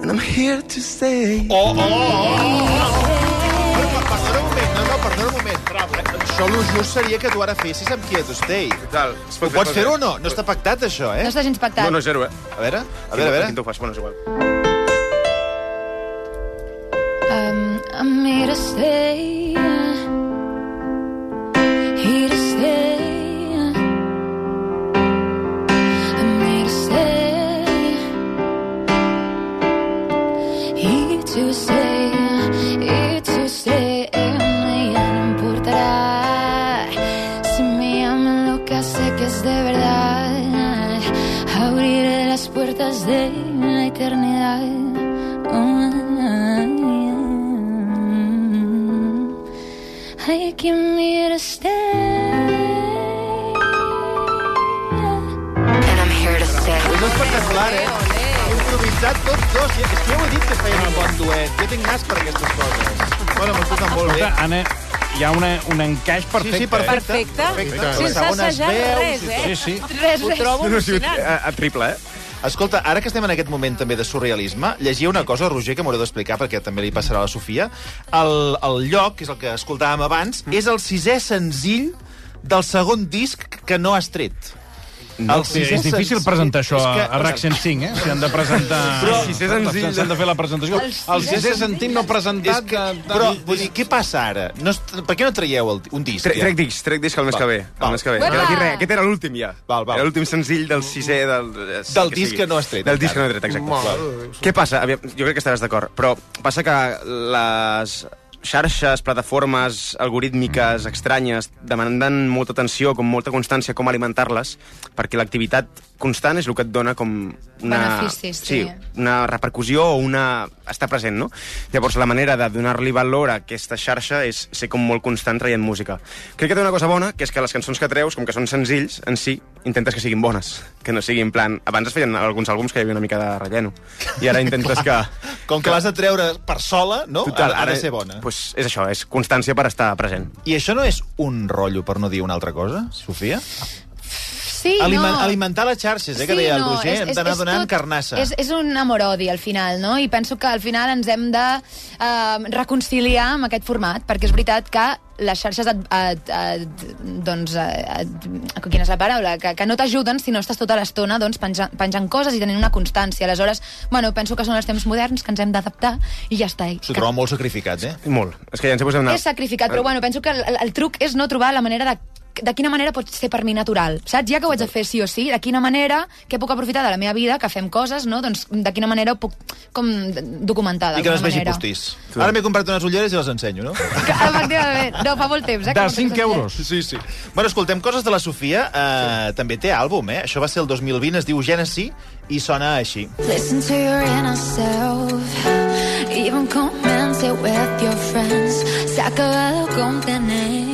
I: And I'm here to stay.
E: Perdona un moment, no, no, perdona un moment. Això lo just seria que tu ara fessis amb Quieto Stay.
F: Tal.
E: Ho pots fer o no? No està pactat, això,
G: No
E: eh?
G: està gens pactat.
F: No, no, zero, eh?
E: A veure, a veure, a
F: Quin
E: veure.
F: tu fas? Bueno, és igual.
C: Um, I'm here to stay. Here to stay. I'm here to stay. Here to stay. Here to stay. Y ya no importará si me aman lo que sé que es de verdad. Abriré las puertas de la eternidad. I can hear to stay. And I'm here to stay.
E: És espectacular, eh? Heu improvisat tots dos. I És que jo he dit que feien un bon duet. Jo tinc nas per aquestes coses. Bueno, m'ho escolten molt bé.
A: Escolta, Anna, hi ha una, un encaix perfecte.
E: Sí, sí, perfecte.
H: Perfecte.
E: Perfecte.
H: Sense
E: Les segones
H: assajar
E: veus i
H: res, eh?
E: tot.
A: Sí, sí.
G: Res,
H: Ho
G: res.
H: trobo al·lucinant.
F: A, a triple, eh?
E: Escolta, ara que estem en aquest moment també de surrealisme, llegia una cosa, Roger, que m'haureu d'explicar perquè també li passarà a la Sofia. El, el lloc, que és el que escoltàvem abans, és el sisè senzill del segon disc que no has tret. No, el
A: Sí, és difícil presentar això
E: és
A: a,
E: que-
A: a RAC 105, eh? Si han de presentar... Però,
F: si és senzill,
A: S'han de fer la presentació.
G: El
A: El sisè sentim no presentat...
E: És que,
A: de- de-
E: però, vull dir, què passa ara? No, es- per què no traieu el, un disc?
F: Tre
E: ja?
F: trec disc, trec disc el mes
E: Val,
F: que ve.
E: val.
F: El mes que ve.
G: Uepa!
F: Queda aquí res. Aquest era l'últim, ja.
E: Val, val.
F: Era l'últim senzill del sisè... Del, eh,
E: Del
F: que
E: disc
F: sigui.
E: que no has tret,
F: Del disc que
E: encara.
F: no he tret, exacte.
E: Mare
F: Val. Què passa? Aviam, jo crec que estaràs d'acord, però passa que les xarxes, plataformes algorítmiques estranyes demanden molta atenció, com molta constància, com alimentar-les, perquè l'activitat constant és el que et dona com una...
G: Beneficis, sí.
F: sí una repercussió o una... estar present, no? Llavors, la manera de donar-li valor a aquesta xarxa és ser com molt constant traient música. Crec que té una cosa bona, que és que les cançons que treus, com que són senzills, en si, intentes que siguin bones, que no siguin en plan... Abans es feien alguns àlbums que hi havia una mica de relleno, i ara intentes que...
E: Com que l'has de treure per sola, no? Total, ha, ha de ser bona. Pues...
F: Pues és això, és constància per estar present.
E: I això no és un rotllo, per no dir una altra cosa, Sofia?
G: Sí,
E: Aliment,
G: Oh, no.
E: alimentar les xarxes, eh, que deia el Roger, hem d'anar donant
G: tot-
E: carnassa.
G: És, és un amor-odi, al final, no? I penso que al final ens hem de eh, reconciliar amb aquest format, perquè és veritat que les xarxes et, et, et, doncs, et, et, quina és la paraula? Que, que no t'ajuden si no estàs tota l'estona doncs, penjant, penjant coses i tenint una constància. Aleshores, bueno, penso que són els temps moderns que ens hem d'adaptar i ja està. I
E: S'ho
G: que-
E: troba molt sacrificat, eh?
F: Molt. És que ja ens hi posem una...
G: és sacrificat, però bueno, penso que el, el truc és no trobar la manera de de quina manera pot ser per mi natural, saps? Ja que ho haig de fer sí o sí, de quina manera, què puc aprofitar de la meva vida, que fem coses, no? Doncs de quina manera ho puc com documentar
E: I que
G: d'alguna
E: les vegi
G: manera.
E: postís. Ara m'he comprat unes ulleres i les ensenyo, no?
G: Que, efectivament, no, fa molt temps. Eh, que
A: De
G: no
A: 5
G: penses en
A: euros.
E: Sí, sí. Bueno, escoltem coses de la Sofia. Uh, sí. També té àlbum, eh? Això va ser el 2020, es diu Gènesi, i sona així.
C: Listen to your inner self. Even commence it with your friends. Se ha acabado con tener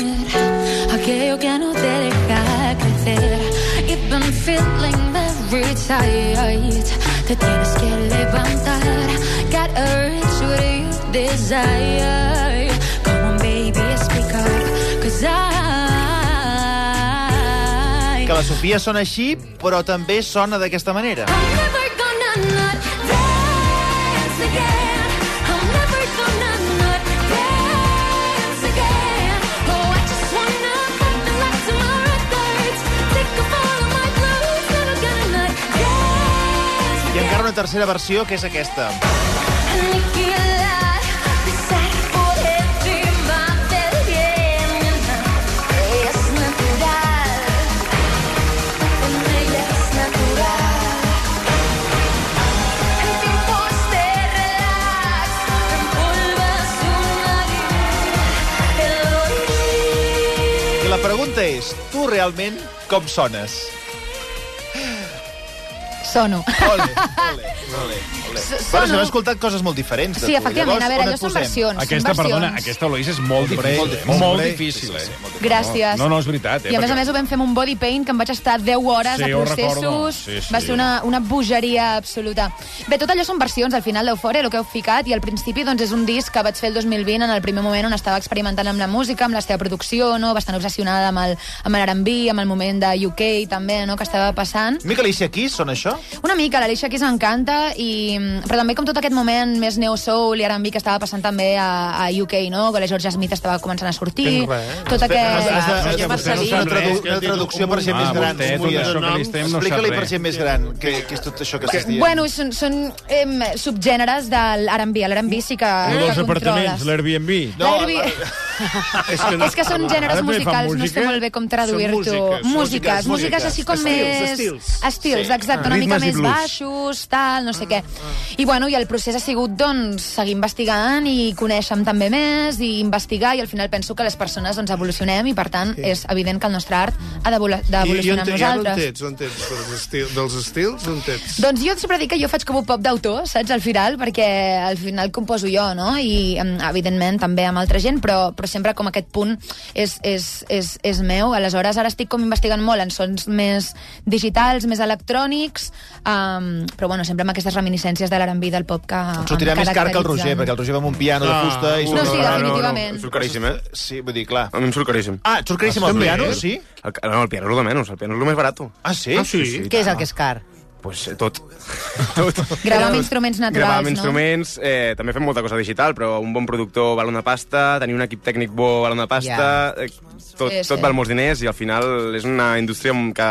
C: aquello que no te deja crecer. You've been feeling very tired. Te tienes que levantar. Got a reach what you desire. Come on, baby, speak up. Cause I.
E: Que la Sofia sona així, però també sona d'aquesta manera.
C: I'm never gonna not dance again. I'm never gonna not dance again. Oh, I just wanna put the lights on my records. Take off all of my clothes. Never gonna not dance
E: I
C: again.
E: encara una tercera versió, que és aquesta.
C: Aniquilar, pisar por encima del bien. Ella es natural. Con ella es natural. En tiempos de relax, envolvas una vida. El oír.
E: I la pregunta és, tu realment com sones?
G: aquest. Sono.
E: Ole, ole, ole. ole.
G: S-
E: Bueno,
G: sono.
E: s'han escoltat coses molt diferents de
G: Sí,
E: tu.
G: efectivament, a
E: Llavors,
G: veure,
E: on
G: allò
E: et
G: són
E: posem?
G: versions.
A: Aquesta,
G: són versions.
A: perdona, aquesta, Eloís, és molt difícil. eh?
B: hombre.
A: Molt difícil, eh?
G: Gràcies.
A: No, no, és veritat, eh?
G: I a més
A: Perquè-
G: a més ho vam fer amb un body paint que em vaig estar 10 hores
A: Sí,
G: de
A: ho recordo.
G: processos.
A: Sí, sí.
G: Va ser una, una bogeria absoluta. Bé, tot allò són versions al final d'Eufòria, el que heu ficat, i al principi doncs, és un disc que vaig fer el 2020 en el primer moment on estava experimentant amb la música, amb la seva producció, no? bastant obsessionada amb el, amb l'R&B, amb el moment de UK també, no? que estava passant.
E: Mica Alicia Keys, sona això?
G: Una mica, l'Alicia Keys m'encanta, i, mm, però també com tot aquest moment més neo-soul i R&B que estava passant també a, a UK, no? que la Georgia Smith estava començant a sortir.
B: Fent res.
G: Tot
E: eh? Has de- has de-
G: aquest...
E: has de-
H: Roger
E: has de fer
H: Marcelí.
E: una, tradu
B: Res, que
E: una
B: ha dit
E: traducció
B: un
E: per gent
A: Ah,
E: més gran.
A: vostè, tot
E: Núria.
A: això que li estem no sap
E: Explica-li per
A: res.
E: gent més gran què, què és tot això que estàs dient.
G: Bueno, són, són em, subgèneres del R&B. L'R&B sí que,
J: Un
G: que
J: dels apartaments,
G: Ah, controles.
J: l'Airbnb.
E: No,
G: L'R&B-
J: És que,
G: és que són gèneres
J: Ara també fan
G: musicals, no sé
J: música?
G: molt bé com traduir-t'ho.
B: Són músiques,
G: músiques,
B: músiques,
G: músiques, músiques així com
B: estils,
G: més...
B: estils.
G: Estils,
E: Sí.
G: exacte, una mica
J: Ah. Ritmes i
G: més
J: blues.
G: baixos, tal, no sé què. I bueno, i el procés ha sigut, doncs, seguir investigant i conèixer també més i investigar, i al final penso que les persones doncs, evolucionem i, per tant, és evident que el nostre art ha d'evolu- d'evolucionar amb
B: on
G: nosaltres.
B: tens, on tens dels, estil, dels estils, on tens?
G: Doncs jo sempre dic que jo faig com un pop d'autor, saps, al final, perquè al final composo jo, no? I, em, evidentment, també amb altra gent, però, però sempre com aquest punt és, és, és, és meu. Aleshores, ara estic com investigant molt en sons més digitals, més electrònics, um, però, bueno, sempre amb aquestes reminiscències de l'R&B del pop que...
E: Ens sortirà
G: em
E: més car que el Roger,
G: caracteritzen.
E: perquè el Roger va amb un piano de
B: Ah,
E: fusta i...
G: No,
E: surt-
G: sí, definitivament.
F: Em surt caríssim, eh?
E: Sí, vull dir, clar.
F: A mi em surt caríssim.
E: Ah, et surt caríssim el piano, sí?
F: El, no, el piano és el de menys, el piano és el més barat.
E: Ah, sí?
B: Ah, sí?
H: Què és el que és car?
F: Pues eh, tot. tot.
G: Gravar amb instruments naturals,
F: Gravar amb
G: no?
F: instruments, eh, també fem molta cosa digital, però un bon productor val una pasta, tenir un equip tècnic bo val una pasta, yeah. tot,
G: Sí,
F: sí,
G: sí.
F: tot val molts diners i al final és una indústria amb que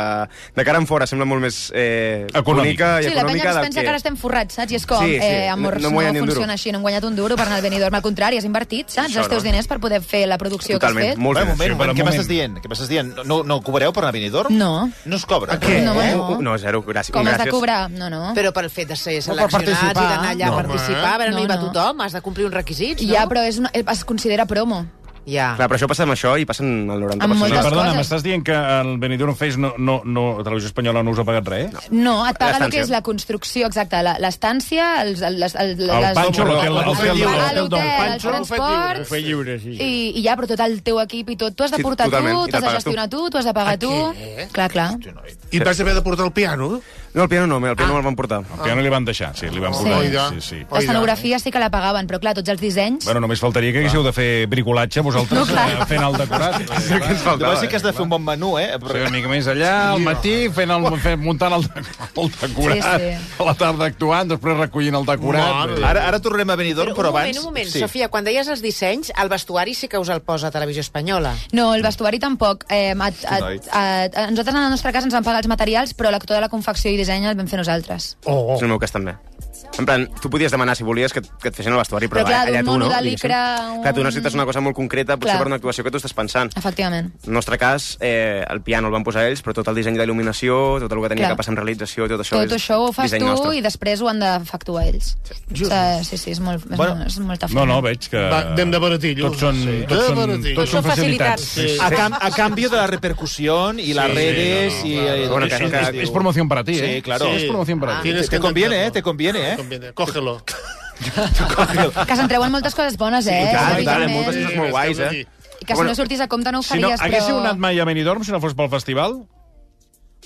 F: de cara en fora sembla molt més eh,
A: Econòmica.
F: bonica i
G: Sí, la penya
F: econòmica
G: que es
F: del
G: pensa que... ara estem forrats, saps? I és com,
F: Sí, sí.
G: eh, amor,
F: No- no
G: no,
F: m'ho guanyen ni
G: no
F: un
G: funciona
F: duro.
G: així, no hem guanyat un duro per anar al Benidorm, al contrari, has invertit, saps,
F: Això,
G: els teus
F: no?
G: diners per poder fer la producció
F: Totalment,
G: que has fet.
F: molts
E: Bueno, un
F: diners.
E: moment, un
A: per
E: moment,
A: un
E: què
A: moment.
E: m'estàs dient? Què m'estàs dient? No, no cobreu per anar a Benidorm?
G: No.
E: No es cobra.
B: A què?
G: No, home,
E: Eh?
G: no.
F: No, zero, gràcies.
G: Com has de
F: gràcies.
G: cobrar? No, no.
H: Però pel fet de ser
J: No per
H: seleccionats i
J: participar.
H: d'anar allà
B: No,
H: a
B: home.
H: participar, a veure, no,
G: No,
H: hi va
G: no.
H: tothom, has de complir uns requisits, no?
G: Ja, però és una, eh, es considera promo.
H: Ja.
F: Clar, però això passa amb això i passa en el 90%.
G: Amb
A: Sí,
G: moltes
A: perdona,
G: coses.
A: m'estàs dient que el Benidorm Fest no, no, no, Televisió Espanyola no us ha pagat res? No.
G: No, et paga el
F: L'estància.
G: que és la construcció, exacte, la- l'estància, els... El, les, el,
A: El
G: les-
A: Pancho, l'hotel
B: el-
A: l'hotel del-
G: Ah,
A: l'hotel
G: l'hotel,
A: del
G: el
A: Pancho...
J: Ho
G: transport...
J: fer lliure, sí. I...
G: I, I ja, però tot el teu equip i tot, tu has de
F: Sí,
G: portar
F: totalment,
G: tu,
F: i te'l
G: t'has de
F: pagues tu.
G: gestionar tu, t'ho has de pagar tu... Clar, clar.
B: I vas haver de portar el piano?
F: No, el piano no, el piano ah. me'l van portar.
A: El piano li van deixar, sí, li van
G: Sí.
A: posar.
G: Oi,
B: ja.
A: Sí, sí.
G: L'escenografia sí que la pagaven, però clar, tots els dissenys...
A: Bueno, només faltaria que haguéssiu de fer bricolatge vosaltres
G: No, clar.
A: eh, fent el decorat.
F: Això que ens
E: Deu
F: faltava,
E: ser que has de fer un bon menú, eh?
A: Sí,
E: Però...
A: una mica més allà, al matí, fent el, fent, muntant el, el decorat,
G: Sí,
A: sí,
G: sí.
A: sí. a la tarda actuant, després recollint el decorat.
B: Mare.
E: Ara, ara tornem a Benidorm, però,
H: un moment,
E: abans...
H: un moment, Sofia, quan deies els dissenys, el vestuari sí que us el posa a Televisió Espanyola.
G: No, el vestuari tampoc. Eh, et, et, et, a nosaltres, tota en la nostra casa, ens van pagar els materials, però l'actor de la confecció i disseny el vam fer nosaltres.
B: Oh,
F: És el meu cas també. En plan, tu podies demanar, si volies, que, que et fessin el vestuari, però,
G: Però clar,
F: allà
G: d'un
F: tu no.
G: mono de
F: diguéssim.
G: licra,
F: Clar, tu
G: un-
F: necessites una cosa molt concreta, potser
G: Clar.
F: clar. per una actuació que tu estàs pensant.
G: Efectivament.
F: En el nostre cas, eh, el piano el van posar ells, però tot el disseny d'il·luminació, tot el que tenia
G: Clar.
F: que passar amb realització, tot això
G: Tot
F: és
G: això ho fas
F: disseny
G: tu
F: nostre.
G: i després ho han de factuar ells. Sí, o sigui, sí, sí és, molt, és, bueno, és molta feina.
K: No, no, veig que...
B: Va, anem de baratillos.
K: Tots són,
B: Sí.
K: tots
B: De
K: són,
B: baratillos.
K: tots són
B: Són
K: facilitats.
B: facilitats,
A: Ah,
E: A, cam a cambio de la repercusión y las
A: sí,
E: redes...
A: no, no,
E: y,
A: claro.
E: eh,
A: Bueno,
E: eso
A: que-
E: es-
A: que- es promoción para ti,
E: sí,
A: ¿eh?
E: Claro.
A: Sí, es promoción
B: Ah.
A: para ti. Tienes
E: Te
A: que
E: conviene, ¿eh? Te conviene, ¿eh?
B: Conviene. Cógelo.
G: Que se'n treuen moltes coses bones, eh?
A: i tant, i tant,
G: evidentment.
A: moltes coses molt guais, eh?
G: I que si
A: Bueno,
G: no sortís a compte no ho
A: Si no,
G: faries,
A: haguéssiu
G: però...
A: anat mai a Benidorm si no fos pel festival?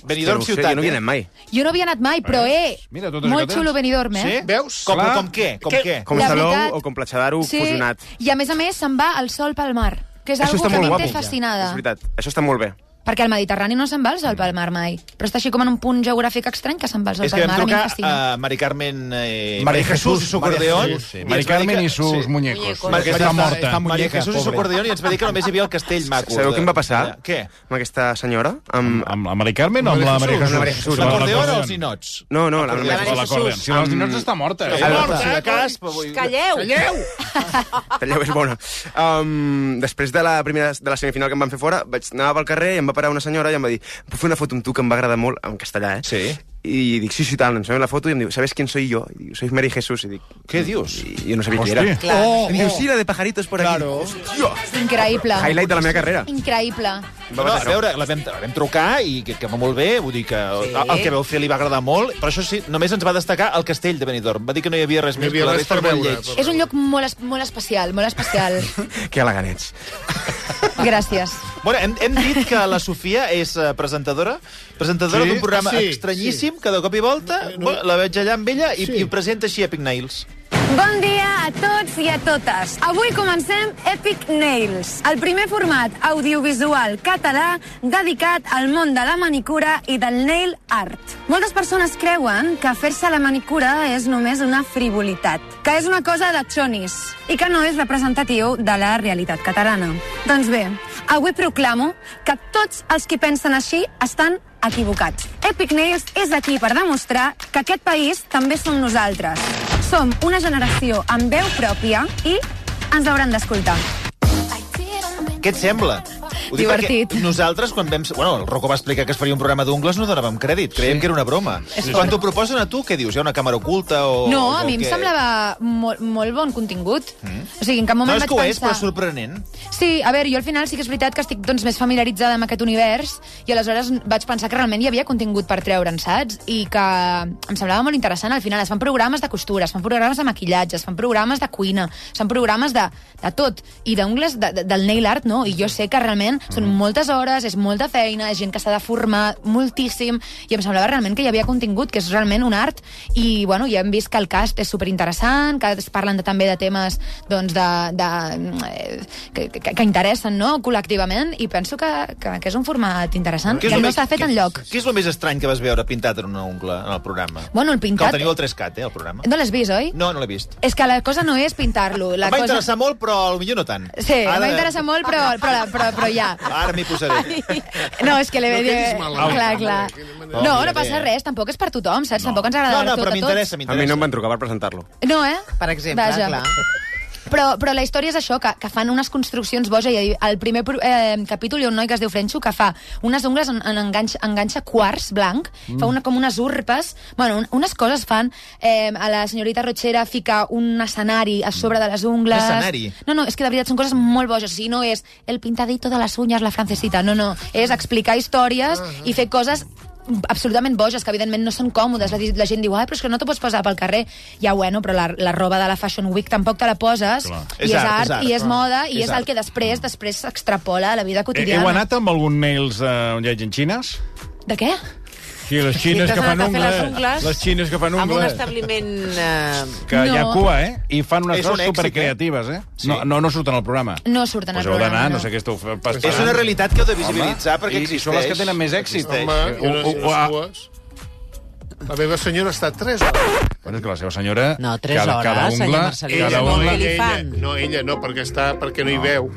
F: Benidorm Hòstia, no ho sé, ciutat, jo no hi he eh? anat mai.
G: Jo no havia anat mai, però, eh,
F: Mira, tot això que
G: molt
F: tens.
G: xulo Benidorm, eh?
F: Sí? Com- Clar. com què? Com
E: Eh,
F: què? Com
G: La
F: Salou
G: Eh, veritat-
F: o com Platja d'Aro fusionat.
G: I a més a més se'n va el sol pel mar, que és una
F: Això està
G: cosa que a
F: molt
G: mi em té
F: guapo.
G: fascinada.
F: És veritat, això està molt bé.
G: Perquè al Mediterrani no se'n va el sol pel mar mai. Però està així com en un punt geogràfic estrany que se'n va el sol
E: És que
G: pel
E: vam
G: mar. A mi em
E: trucar
G: fascina.
E: a Mari Carmen... Eh,
A: María
E: Mari Jesús i su acordeón. i ens
A: Mari
E: va dir
A: Carmen
E: que-
A: i sus
E: sí.
A: muñecos.
E: Mari
A: Perquè està morta.
E: Mari Jesús i su acordeón i ens va dir que només hi havia el castell maco.
F: Sabeu què em va passar?
E: Què?
F: Amb aquesta senyora? Amb,
A: amb la Mari Carmen o amb la Maria Jesús?
F: L'acordeó
A: L'acordeon
F: o
A: o
F: els
A: els
F: ninots? No, no, la Maria Jesús.
A: L'acordeon. Si no, els ninots està morta.
F: Està
A: eh?
F: morta,
A: Sí.
H: Calleu! Calleu!
F: Talleu és bona. Um, després de la primera de la semifinal que em van fer fora, vaig anar pel carrer i em va parar una senyora i em va dir puc fer una foto amb tu que em va agradar molt, en castellà, eh? Sí. I dic, sí, sí, tant, em sembla la foto i em diu, ¿sabes quién soy yo? I diu, soy Mary Jesús. I dic, què dius? I jo no sabia qui era.
I: Hòstia. Clar.
F: Oh, em diu, sí, la de pajaritos por claro. aquí. Hòstia!
G: Increïble.
F: Highlight de la meva carrera.
G: Increïble.
E: No, a veure, la vam, la vam trucar i que, que va molt bé, vull dir que sí. el que veu fer li va agradar molt, però això sí, només ens va destacar el castell de Benidorm. Va dir que no hi havia res
B: No hi
E: més.
B: havia
E: que la
B: res
E: resta
B: per
E: era molt
B: veure,
E: lleig.
G: És un lloc molt, es- molt especial, molt especial.
F: Que elegants.
G: Gràcies.
E: Bueno, hem, hem dit que la Sofia és eh, presentadora, presentadora
B: Sí?
E: d'un programa
B: Ah, sí,
E: estranyíssim que de cop i volta no, la veig allà amb ella i, i ho presenta així Epic Nails.
L: Bon dia a tots i a totes. Avui comencem Epic Nails, el primer format audiovisual català dedicat al món de la manicura i del nail art. Moltes persones creuen que fer-se la manicura és només una frivolitat, que és una cosa de xonis i que no és representatiu de la realitat catalana. Doncs bé, avui proclamo que tots els qui pensen així estan equivocats. Epic Nails és aquí per demostrar que aquest país també som nosaltres. Som una generació amb veu pròpia i ens hauran d'escoltar.
E: Què et sembla? Ho dic
L: Divertit.
E: perquè Nosaltres, quan vam... Bueno, el Rocco va explicar que es faria un programa d'ungles, no donàvem crèdit. Creiem sí. que era una broma.
G: És
E: Quan
G: broma.
E: t'ho proposen a tu, què dius? Hi ha una càmera oculta o...
G: No, a
E: o
G: mi em
E: què?
G: semblava molt, molt bon contingut. O sigui, en cap
E: Mm. No
G: moment
E: és
G: vaig
E: que ho és,
G: pensar...
E: però sorprenent.
G: Sí, a veure, jo al final sí que és veritat que estic doncs, més familiaritzada amb aquest univers i aleshores vaig pensar que realment hi havia contingut per treure'n, saps? I que em semblava molt interessant. Al final es fan programes de costura, es fan programes de maquillatge, es fan programes de cuina, es fan programes de, de tot. I d'ungles, de, de, del nail art, no? I jo sé que realment són
E: Mm.
G: moltes hores, és molta feina, és gent que s'ha de formar moltíssim i em semblava realment que hi havia contingut, que és realment un art. I, bueno, ja hem vist que el cast és superinteressant, que es parlen de, també de temes doncs, de, de, eh, que, que, que interessen no? col·lectivament i penso que, que, que és un format interessant
E: Què és
G: que
E: el
G: no
E: més-
G: s'ha fet
E: què-
G: en lloc.
E: Què és el més estrany que vas veure pintat en una ungla en el programa?
G: Bueno, el pintat-
E: Que el teniu al 3CAT, eh, el programa.
G: No l'has vist, oi?
E: No, no l'he vist.
G: És que la cosa no és pintar-lo. La
E: em va
G: cosa...
E: interessar molt, però potser no tant.
G: Sí,
E: Ara- Ah,
G: Ara... m'interessa molt, però, però, però, però ja.
E: Ara m'hi posaré.
G: No, és que l'he
E: No
G: de
E: quedis malament.
G: Clar, clar.
F: manera.
G: No,
F: No,
G: no passa
F: mira bé.
G: res, tampoc és per tothom, saps? Tampoc ens agradarà tot a tots.
F: A mi no em van trucar per presentar-lo.
G: No, eh?
H: Per exemple, clar.
G: Però, però la història és això, que, que fan unes construccions boja i al primer pro- eh, capítol hi ha un noi que es diu Frenxo que fa unes ungles en, en enganxa, enganxa quarts blanc,
L: Mm.
G: mm. fa una, com unes urpes, bueno, un, unes coses fan eh, a la senyorita Rotxera fica un escenari a sobre de les ungles.
L: Un escenari?
G: No, no, és que de veritat són coses molt boges, o sigui, no és el pintadito de les uñas, la francesita, no, no, és explicar històries i fer coses absolutament boges, que evidentment no són còmodes. La, di- la gent diu, ai, però és que no t'ho pots posar pel carrer. Ja, bueno, però la, la roba de la Fashion Week tampoc te la poses.
A: Clar. Mm.
G: I és, art, i és moda, i és, el que després després s'extrapola a la vida
A: Eh, Heu
G: quotidiana.
A: anat amb algun nails eh, on hi hagi xines?
G: De què?
K: Sí, les xines
H: T'has
K: que fan
H: anat a fer les
K: ungles.
H: ungles
K: Les xines que fan
H: Amb un
K: ungles.
H: establiment... Eh...
A: Que hi ha
G: No.
A: cua, eh? I fan unes
E: És un
A: coses
E: èxit,
A: supercreatives, eh? No, no, no surten al programa.
G: No surten
A: Pues
G: al
A: heu d'anar,
G: programa.
A: no sé què esteu fent. pas-
E: És una realitat que heu de visibilitzar,
A: Home,
E: perquè
A: i- I són les que tenen més èxit.
B: Home, jo no sé les cues. La meva senyora està 3 hores.
A: Bueno, és que la seva senyora... No,
B: tres
A: cada, cada
B: hores,
A: ungla,
B: senyor Marcelí.
A: Cada
B: no,
A: ungla...
B: ella, no, ella no, perquè, està, perquè no, hi veu.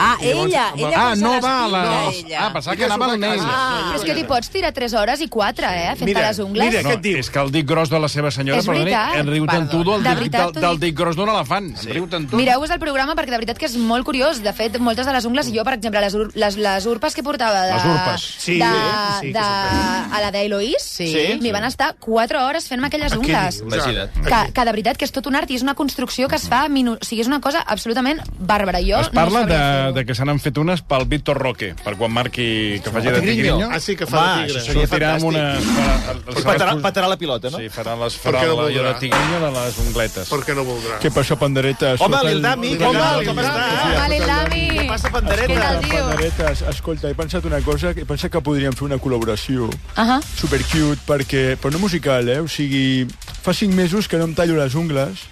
M: Ah,
A: I llavors-
M: ella, ella
A: Ah,
M: posa
A: no
M: les
A: va a la...
M: piles, ella.
A: Ah, pensava
M: Ella
A: que anava
M: surt
A: al
M: a
A: nen.
M: casa.
G: Però és que li pots tirar 3 hores i 4, eh, fent-te les ungles.
A: mira, què et diu? És que el dit gros de la seva senyora,
G: És
A: perdoni,
G: veritat.
A: en riu tant tu del,
G: De
A: dit-
G: veritat,
A: del,
G: t'ho
A: del
G: dic.
A: dit gros d'un elefant. Ah, Sí. En riu tant tu.
G: Mireu-vos el programa perquè de veritat que és molt curiós. De fet, moltes de les ungles, jo, per exemple, les, ur les, les urpes que portava de,
A: Les urpes. Sí,
G: de,
A: sí, sí, que
G: de, a la d'Eloís,
A: Sí.
G: m'hi van estar 4 hores fent-me aquelles
A: Ah, què
G: ungles.
A: dius? Imagina't.
G: Que, que de veritat que és tot un art i és una construcció que es fa... Minu... O sigui, és una cosa absolutament bàrbara. Jo
A: Es parla
G: Ah, no
A: de, de que se n'han fet unes pel Víctor Roque, per quan marqui que faci de
B: Tigrinho.
A: tigrinyo.
B: Ah, sí, que fa de
A: Home,
B: tigre.
A: això Sortirà amb unes... farà- les
E: Patarà,
A: farà-
E: patarà la pilota, no?
A: Sí, farà les
E: Per
A: farà
E: què no
A: la- allò
E: voldrà?
A: de tigrinyo de les ungletes. Per
B: què no voldrà?
N: Què passa, panderetes?
E: Home,
N: Sóc el-
E: l'Ildami,
N: el-
E: què tal?
N: el-
E: Com estàs?
G: Vale, Dami.
E: Què passa, pandereta?
G: Què tal, tio?
N: Panderetes, escolta, he pensat una cosa, he pensat que podríem fer una col·laboració
G: Ahà.
N: super cute, perquè, però no musical, eh? O sigui, fa cinc mesos que no em tallo les ungles,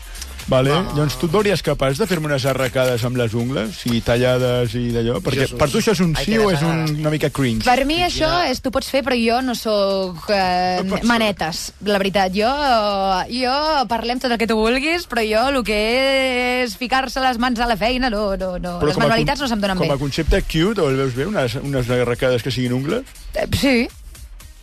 N: vale? Ah. Doncs tu et veuries capaç de fer-me unes arracades amb les ungles, o sigui, tallades i d'allò? Perquè
B: Jesús.
N: per tu això és un
B: Ai,
N: sí
B: que
N: o és un, una mica cringe?
G: Per mi això és, tu pots fer, però jo no sóc eh, manetes, la veritat. Jo, jo parlem tot el que tu vulguis, però jo el que és ficar-se les mans a la feina, no, no, no. les
N: com a
G: manualitats
N: con-
G: no se'm donen
N: com
G: bé.
N: a concepte cute, o el veus bé, unes, unes arracades que siguin ungles?
G: Eh, Sí,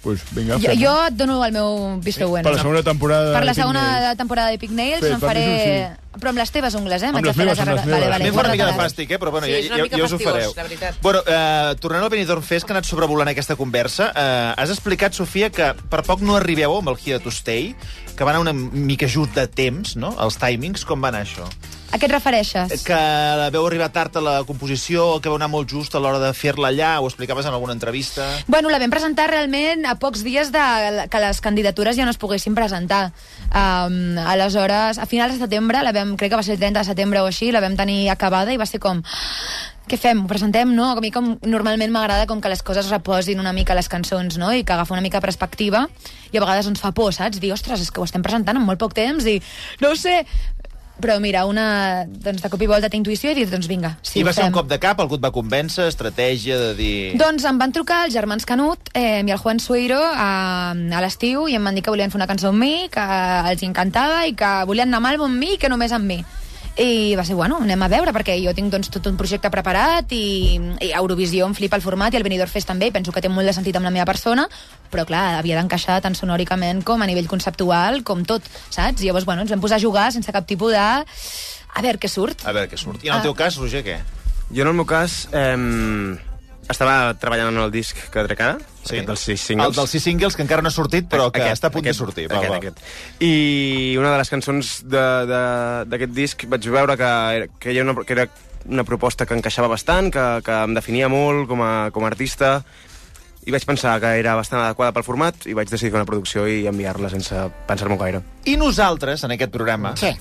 N: Pues vinga,
G: jo,
N: fem-ho.
G: jo et dono el meu visto bueno.
N: Per la segona temporada...
G: Per la
N: de Pink
G: segona
N: Nails.
G: temporada de Pic Nails
N: Fet,
G: en
N: per mi
G: faré...
N: és
G: Però amb les teves ungles, eh?
N: Amb
G: M'haig de
N: les
G: fer
N: meves, amb les
G: arregles.
N: meves.
G: Vale,
E: A mi em fa una
G: vale,
E: mica de
G: guarda-te-les.
E: fàstic, eh? però bueno,
H: Sí,
E: ja,
H: és una
E: ja,
H: mica
E: ja us ho
H: fastigós,
E: fareu.
H: la veritat.
E: Bueno, eh, tornant al Benidorm Fest, que ha anat sobrevolant aquesta conversa, eh, has explicat, Sofia, que per poc no arribeu amb el Here to Stay, que va anar una mica just de temps, no?, els timings, com va anar això?
G: A què et refereixes?
E: Que veu arribar tard a la composició, que vau anar molt just a l'hora de fer-la allà, ho explicaves en alguna entrevista...
G: Bueno, la vam presentar realment a pocs dies de que les candidatures ja no es poguessin presentar. Um, aleshores, a finals de setembre, la vam, crec que va ser el 30 de setembre o així, la vam tenir acabada i va ser com... "Ah, Què fem? Ho presentem, no? A mi com, normalment m'agrada com que les coses reposin una mica les cançons, no? I que agafa una mica de perspectiva i a vegades ens fa por, saps? Dir, ostres, és que ho estem presentant en molt poc temps i no ho sé... Però mira, una, doncs de cop i volta té intuïció i dius, doncs vinga, sí,
E: I va
G: ho
E: ser
G: fem.
E: un cop de cap, algú et va convèncer, estratègia de dir...
G: Doncs em van trucar els germans Canut eh, i el Juan Sueiro a, a l'estiu i em van dir que volien fer una cançó amb mi, que els encantava i que volien anar amb àlbum amb mi i que només amb mi. I va ser, bueno, anem a veure, perquè jo tinc doncs, tot un projecte preparat i, i Eurovisió em flipa el format i el Benidorm Fest també, i penso que té molt de sentit amb la meva persona, però clar, havia d'encaixar tant sonòricament com a nivell conceptual, com tot, saps? I llavors, bueno, ens vam posar a jugar sense cap tipus de... A veure què surt.
E: A veure què surt. I
G: Ah.
E: en el teu cas, Roger, què?
F: Jo, en el meu cas, eh, estava treballant en el disc que trec ara, sí. aquest dels sis singles.
E: El dels sis singles que encara no ha sortit, però que
F: Aquest,
E: està a punt
F: aquest,
E: de sortir.
F: Aquest, aquest. I una de les cançons de- de- d'aquest disc vaig veure que, era- que, hi ha una, que era una proposta que encaixava bastant, que, que em definia molt com a, com a artista, i vaig pensar que era bastant adequada pel format i vaig decidir fer una producció i enviar-la sense pensar-m'ho gaire.
E: I nosaltres, en aquest programa, sí.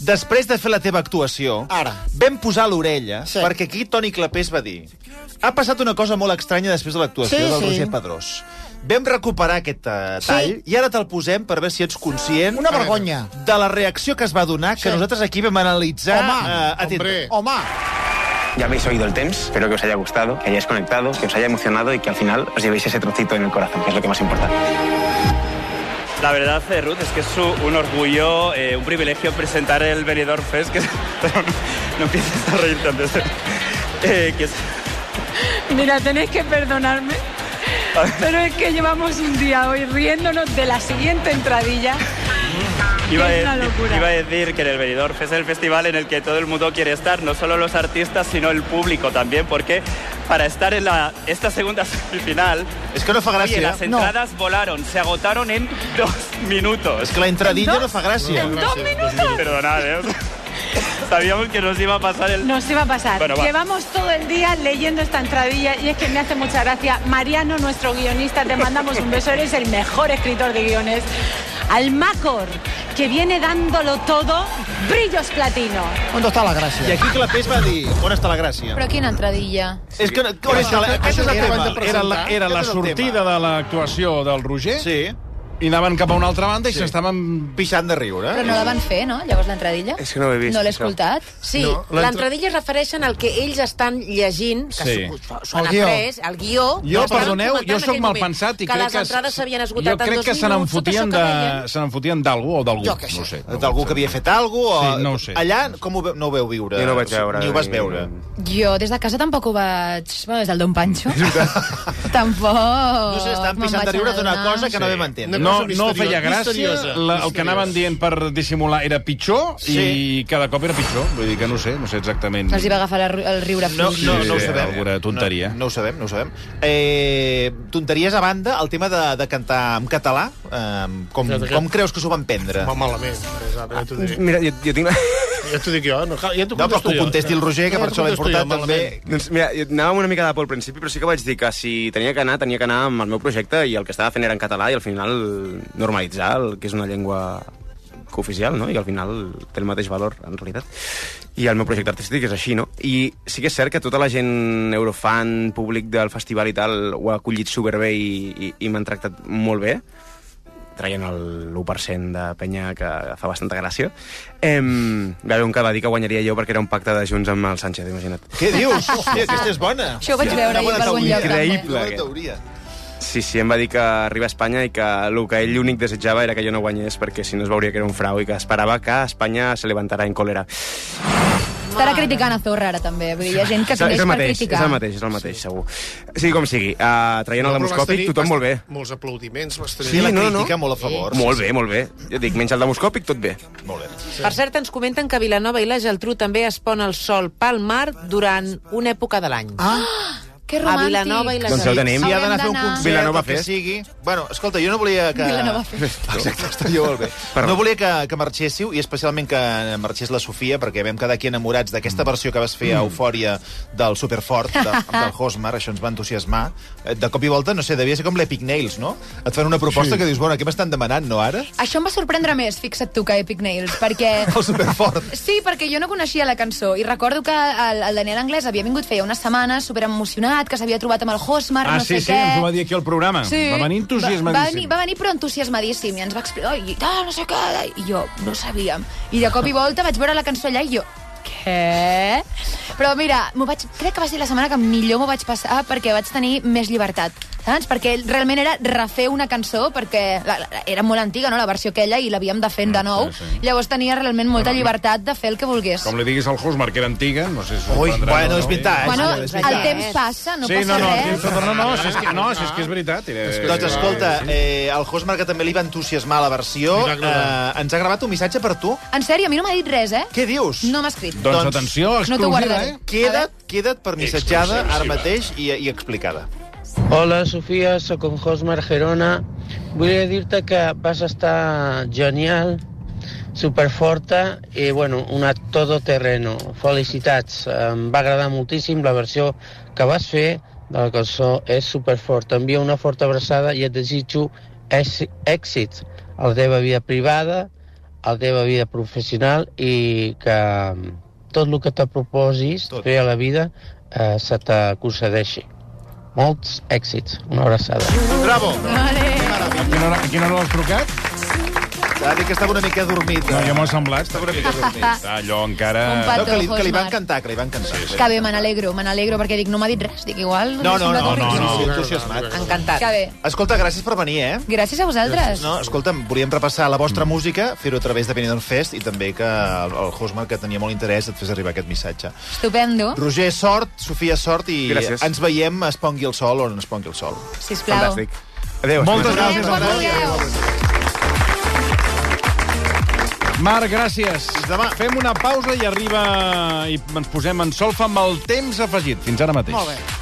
E: després de fer la teva actuació, Ara. vam posar l'orella sí. perquè aquí Toni Clapés va dir ha passat una cosa molt estranya després de l'actuació
O: Sí,
E: del
O: sí.
E: Roger Pedrós. Vam recuperar aquest uh, tall sí. i ara te'l posem per veure si ets conscient...
O: Una vergonya.
E: ...de la reacció que es va donar, que sí. nosaltres aquí vam analitzar... eh, atenta.
O: Home.
F: Ya habéis oído el TEMS, espero que os haya gustado, que hayáis conectado, que os haya emocionado y que al final os llevéis ese trocito en el corazón, que es lo que más importa.
P: La verdad, eh, Ruth, es que es u- un orgullo, eh, un privilegio presentar el Benidorm Fest, que es- no empieces a reírte antes. Eh, que es-
Q: Mira, tenéis que perdonarme, pero es que llevamos un día hoy riéndonos de la siguiente entradilla.
P: iba,
Q: Es
P: a
Q: una
P: decir-
Q: locura.
P: iba a decir que en el Benidorm Fest es el festival en el que todo el mundo quiere estar, no solo los artistas, sino el público también, porque para estar en la, esta segunda semifinal...
E: Es que no fa gràcia.
P: Oye, las
E: No.
P: entradas volaron, se agotaron en dos minutos.
E: És que la entradilla no fa gràcia.
P: Perdonad, eh. Sabíamos que nos iba a pasar el...
Q: Nos iba a pasar.
P: Bueno, va.
Q: Llevamos todo el día leyendo esta entradilla y es que me hace mucha gracia. Mariano, nuestro guionista, te mandamos un beso. Eres el mejor escritor de guiones. Al Macor, que viene dándolo todo, brillos platino.
O: On està la gràcia?
E: I aquí Clapés va dir on està la gràcia.
G: Però quina entradilla.
E: És que, no- on està la, aquest és el
A: Era,
E: tema.
A: la, era la
E: Aquest és el tema.
A: sortida de l'actuació del Roger.
E: Sí.
A: I anaven cap a una altra banda i s'estaven pixant de riure.
G: Però no la van fer, no? Llavors l'entradilla?
A: És que no ho he vist,
G: No l'he
A: això.
G: escoltat.
H: Sí,
A: No, l'entra-
H: l'entradilla es refereixen al que ells estan llegint, que
A: Sí.
H: sí. suena
A: El guió.
H: fresc, el guió.
A: Jo,
H: que estaven
A: perdoneu,
H: comentant
A: jo
H: en
A: sóc
H: aquell
A: mal
H: moment,
A: pensat i
H: que
A: crec
H: les
A: que...
H: entrades s'havien esgotat
A: jo crec
H: en dos
A: que se
H: minuts, tot això
A: n'enfotien
H: que
A: de...
H: deien.
A: Se n'enfotien d'algú o d'algú.
H: Jo què sé.
A: No ho sé.
E: D'algú que havia fet alguna cosa?
A: Sí, no ho sé.
E: Allà, com ho ve... no ho veu viure?
F: Jo no ho vaig veure,
E: Ni ho vas
F: ni-
E: veure.
G: Jo des de casa tampoc ho vaig... Bueno, des del Don Pancho. tampoc... No
E: sé, estan pixant de riure d'una cosa que no vam entendre.
A: No,
E: Una cosa
A: no
E: misteriosa,
A: feia gràcia,
E: misteriosa,
A: la, el
E: misteriosa.
A: que anaven dient per dissimular era pitjor sí. i cada cop era pitjor. Vull dir que no sé, no sé exactament.
G: Els hi va agafar la ri- el riure
E: No,
G: fluix.
E: no, no ho
A: Sí,
E: sabem.
A: alguna tonteria.
E: No, no ho sabem, no ho sabem. Eh, tonteries a banda, el tema de, de cantar en català, eh, com,
B: Clar, que-
E: com creus que s'ho van prendre?
B: Va malament, Isabel, ja t'ho diré.
F: Mira, jo, jo tinc...
B: Ja t'ho dic jo, no, cal- ja t'ho
E: No, però
B: contesto
E: que ho
B: jo.
E: contesti el Roger, que
B: No,
E: per
B: ja
E: això l'he
B: t'ho contesto
E: portat
B: jo,
E: també.
B: malament.
F: Doncs mira, jo anàvem una mica de por al principi, però sí que vaig dir que si tenia que anar, tenia que anar amb el meu projecte i el que estava fent era en català i al final normalitzar el que és una llengua oficial, no? I al final té el mateix valor, en realitat. I el meu projecte artístic és així, no? I sí que és cert que tota la gent eurofan, públic del festival i tal, ho ha acollit superbé i, i, i m'han tractat molt bé traient el 1% de penya que fa bastanta gràcia. Em, va haver un que va dir que guanyaria jo perquè era un pacte de Junts amb el Sánchez, imagina't.
E: Què dius? Hòstia, aquesta és bona.
G: Això ho vaig veure ahir per algun lloc, també.
F: Increïble,
E: Una bona
F: aquest.
E: teoria.
F: Sí, sí, em va dir que arriba a Espanya i que el que ell únic desitjava era que jo no guanyés perquè si no es veuria que era un frau i que esperava que Espanya se levantara en còlera.
G: Estarà criticant a Zorra ara, també. Vull dir, hi ha gent que
F: és,
G: coneix
F: el
G: per
F: mateix, és
G: criticar.
F: el mateix, és el mateix, sí. segur. Sigui com sigui, uh, traient el
B: No, però vas
F: demoscòpic,
B: tenir-
F: tothom
B: vas-
F: molt bé.
B: Molts aplaudiments, vas tenir.
F: Sí,
B: la
F: no, no.
B: crítica molt a favor.
F: Molt bé, molt bé. Jo dic, menys el demoscòpic, tot bé. Molt bé.
H: Per cert, ens comenten que Vilanova i la Geltrú també es pon el sol pel mar durant una època de l'any.
G: Ah! Que
H: A
G: romàntic.
H: Vilanova i la
F: Doncs ja ho
H: Geltrú.
F: tenim.
E: Si ha
G: Haurem
E: d'anar a fer un
G: d'anar.
E: concert,
F: Vilanova
E: el que
F: Fest.
E: sigui... Bueno, escolta, jo no volia que...
G: Vilanova
E: Exacte, estaria molt bé. No volia que, que marxéssiu, i especialment que marxés la Sofia, perquè vam quedar aquí enamorats d'aquesta versió que vas fer a Eufòria del Superfort, de, del Hosmar, això ens va entusiasmar. Eh, De cop i volta, no sé, devia ser com l'Epic Nails, no? Et fan una proposta
N: Sí.
E: que dius, bueno, què m'estan demanant, no, ara?
G: Això em va sorprendre més, fixa't tu, que Epic Nails, perquè...
E: El Superfort.
G: Sí, perquè jo no coneixia la cançó i recordo que el, el Daniel Anglès havia vingut feia unes setmanes superemocionat, que s'havia trobat amb el Hosmer,
A: Ah,
G: no sé
A: sí, sí,
G: què...
A: ens ho va dir aquí al programa. Va venir
G: Va, va, venir,
A: entusiasmadíssim.
G: va venir però entusiasmadíssim i ens va explicar, "Ai, i tal, no sé què, i jo, no ho sabíem. I de cop i volta vaig veure la cançó allà i jo, què? Però mira, m'ho vaig, crec que va ser la setmana que millor m'ho vaig passar perquè vaig tenir més llibertat, saps? Perquè realment era refer una cançó, perquè la, la, era molt antiga, no?, la versió aquella, i l'havíem de fer de nou.
A: Mm, sí, sí.
G: Llavors tenia realment molta llibertat de fer el que volgués.
A: Com li diguis al Hosmar, que era antiga, no sé si...
E: Ui, bueno,
A: pintat.
E: és vintage.
G: Bueno,
E: és
G: el
E: vintage.
G: temps passa, no
A: sí,
G: passa
A: no, no,
G: res.
A: tens tota- no, no, si és que, no, si és que és veritat. Era...
E: Doncs escolta, eh, el Hosmar, que també li va entusiasmar la versió,
A: Li va
E: eh,
A: agradar.
E: ens ha gravat un missatge per tu.
G: En sèrio, a mi no m'ha dit res, eh?
E: Què dius?
G: No m'ha escrit.
A: Doncs, doncs atenció,
G: No t'ho
A: exclusiva,
G: guardaré.
A: eh?
E: Queda't, queda't per missatjada ara
M: Exclusiva.
E: mateix i, i explicada.
M: Hola, Sofia, sóc en Josmar Gerona. Volia dir-te que vas estar genial, superforta i, bueno, una todoterreno. Felicitats. Em va agradar moltíssim la versió que vas fer de la cançó És superforta. Envia una forta abraçada i et desitjo èxi- èxits a la teva vida privada, a la teva vida professional i que tot el que te proposis fer a la vida eh, se te concedeixi. Molts èxits. Una abraçada.
E: Bravo!
G: Vale.
A: A quina hora, a quina hora l'has trucat?
E: S'ha de dir que estava una mica adormit.
A: No,
E: eh?
A: jo m'ho ha semblat.
E: Estava una mica adormit.
A: Està allò encara...
G: Un pato,
E: no, que, li, que li va
G: Hosmar.
E: encantar, que li va encantar. Sí,
G: Que bé, me n'alegro, me n'alegro, perquè dic, no m'ha dit res, dic, igual...
E: No, no,
G: m'ha
E: no,
G: semblat
E: no,
G: horrible.
E: no, entusiasmat.
H: Encantat.
G: Que bé.
E: Escolta, gràcies per venir, eh?
G: Gràcies a vosaltres.
E: No, escolta'm, volíem repassar la vostra música, fer-ho a través de Benidorm Fest i també que el, el Hosmar, que tenia molt interès, et fes arribar aquest missatge.
G: Estupendo.
E: Roger, sort, Sofia, sort, i
F: Gràcies.
E: ens veiem a Espongui el sol on espongui el sol.
G: Sisplau. Fantàstic.
F: Adéu.
A: Moltes gràcies.
G: Quan vulgueu.
A: Marc, gràcies. Demà. Fem una pausa i arriba... i ens posem en solfa amb el temps afegit. Fins ara mateix.
E: Molt bé.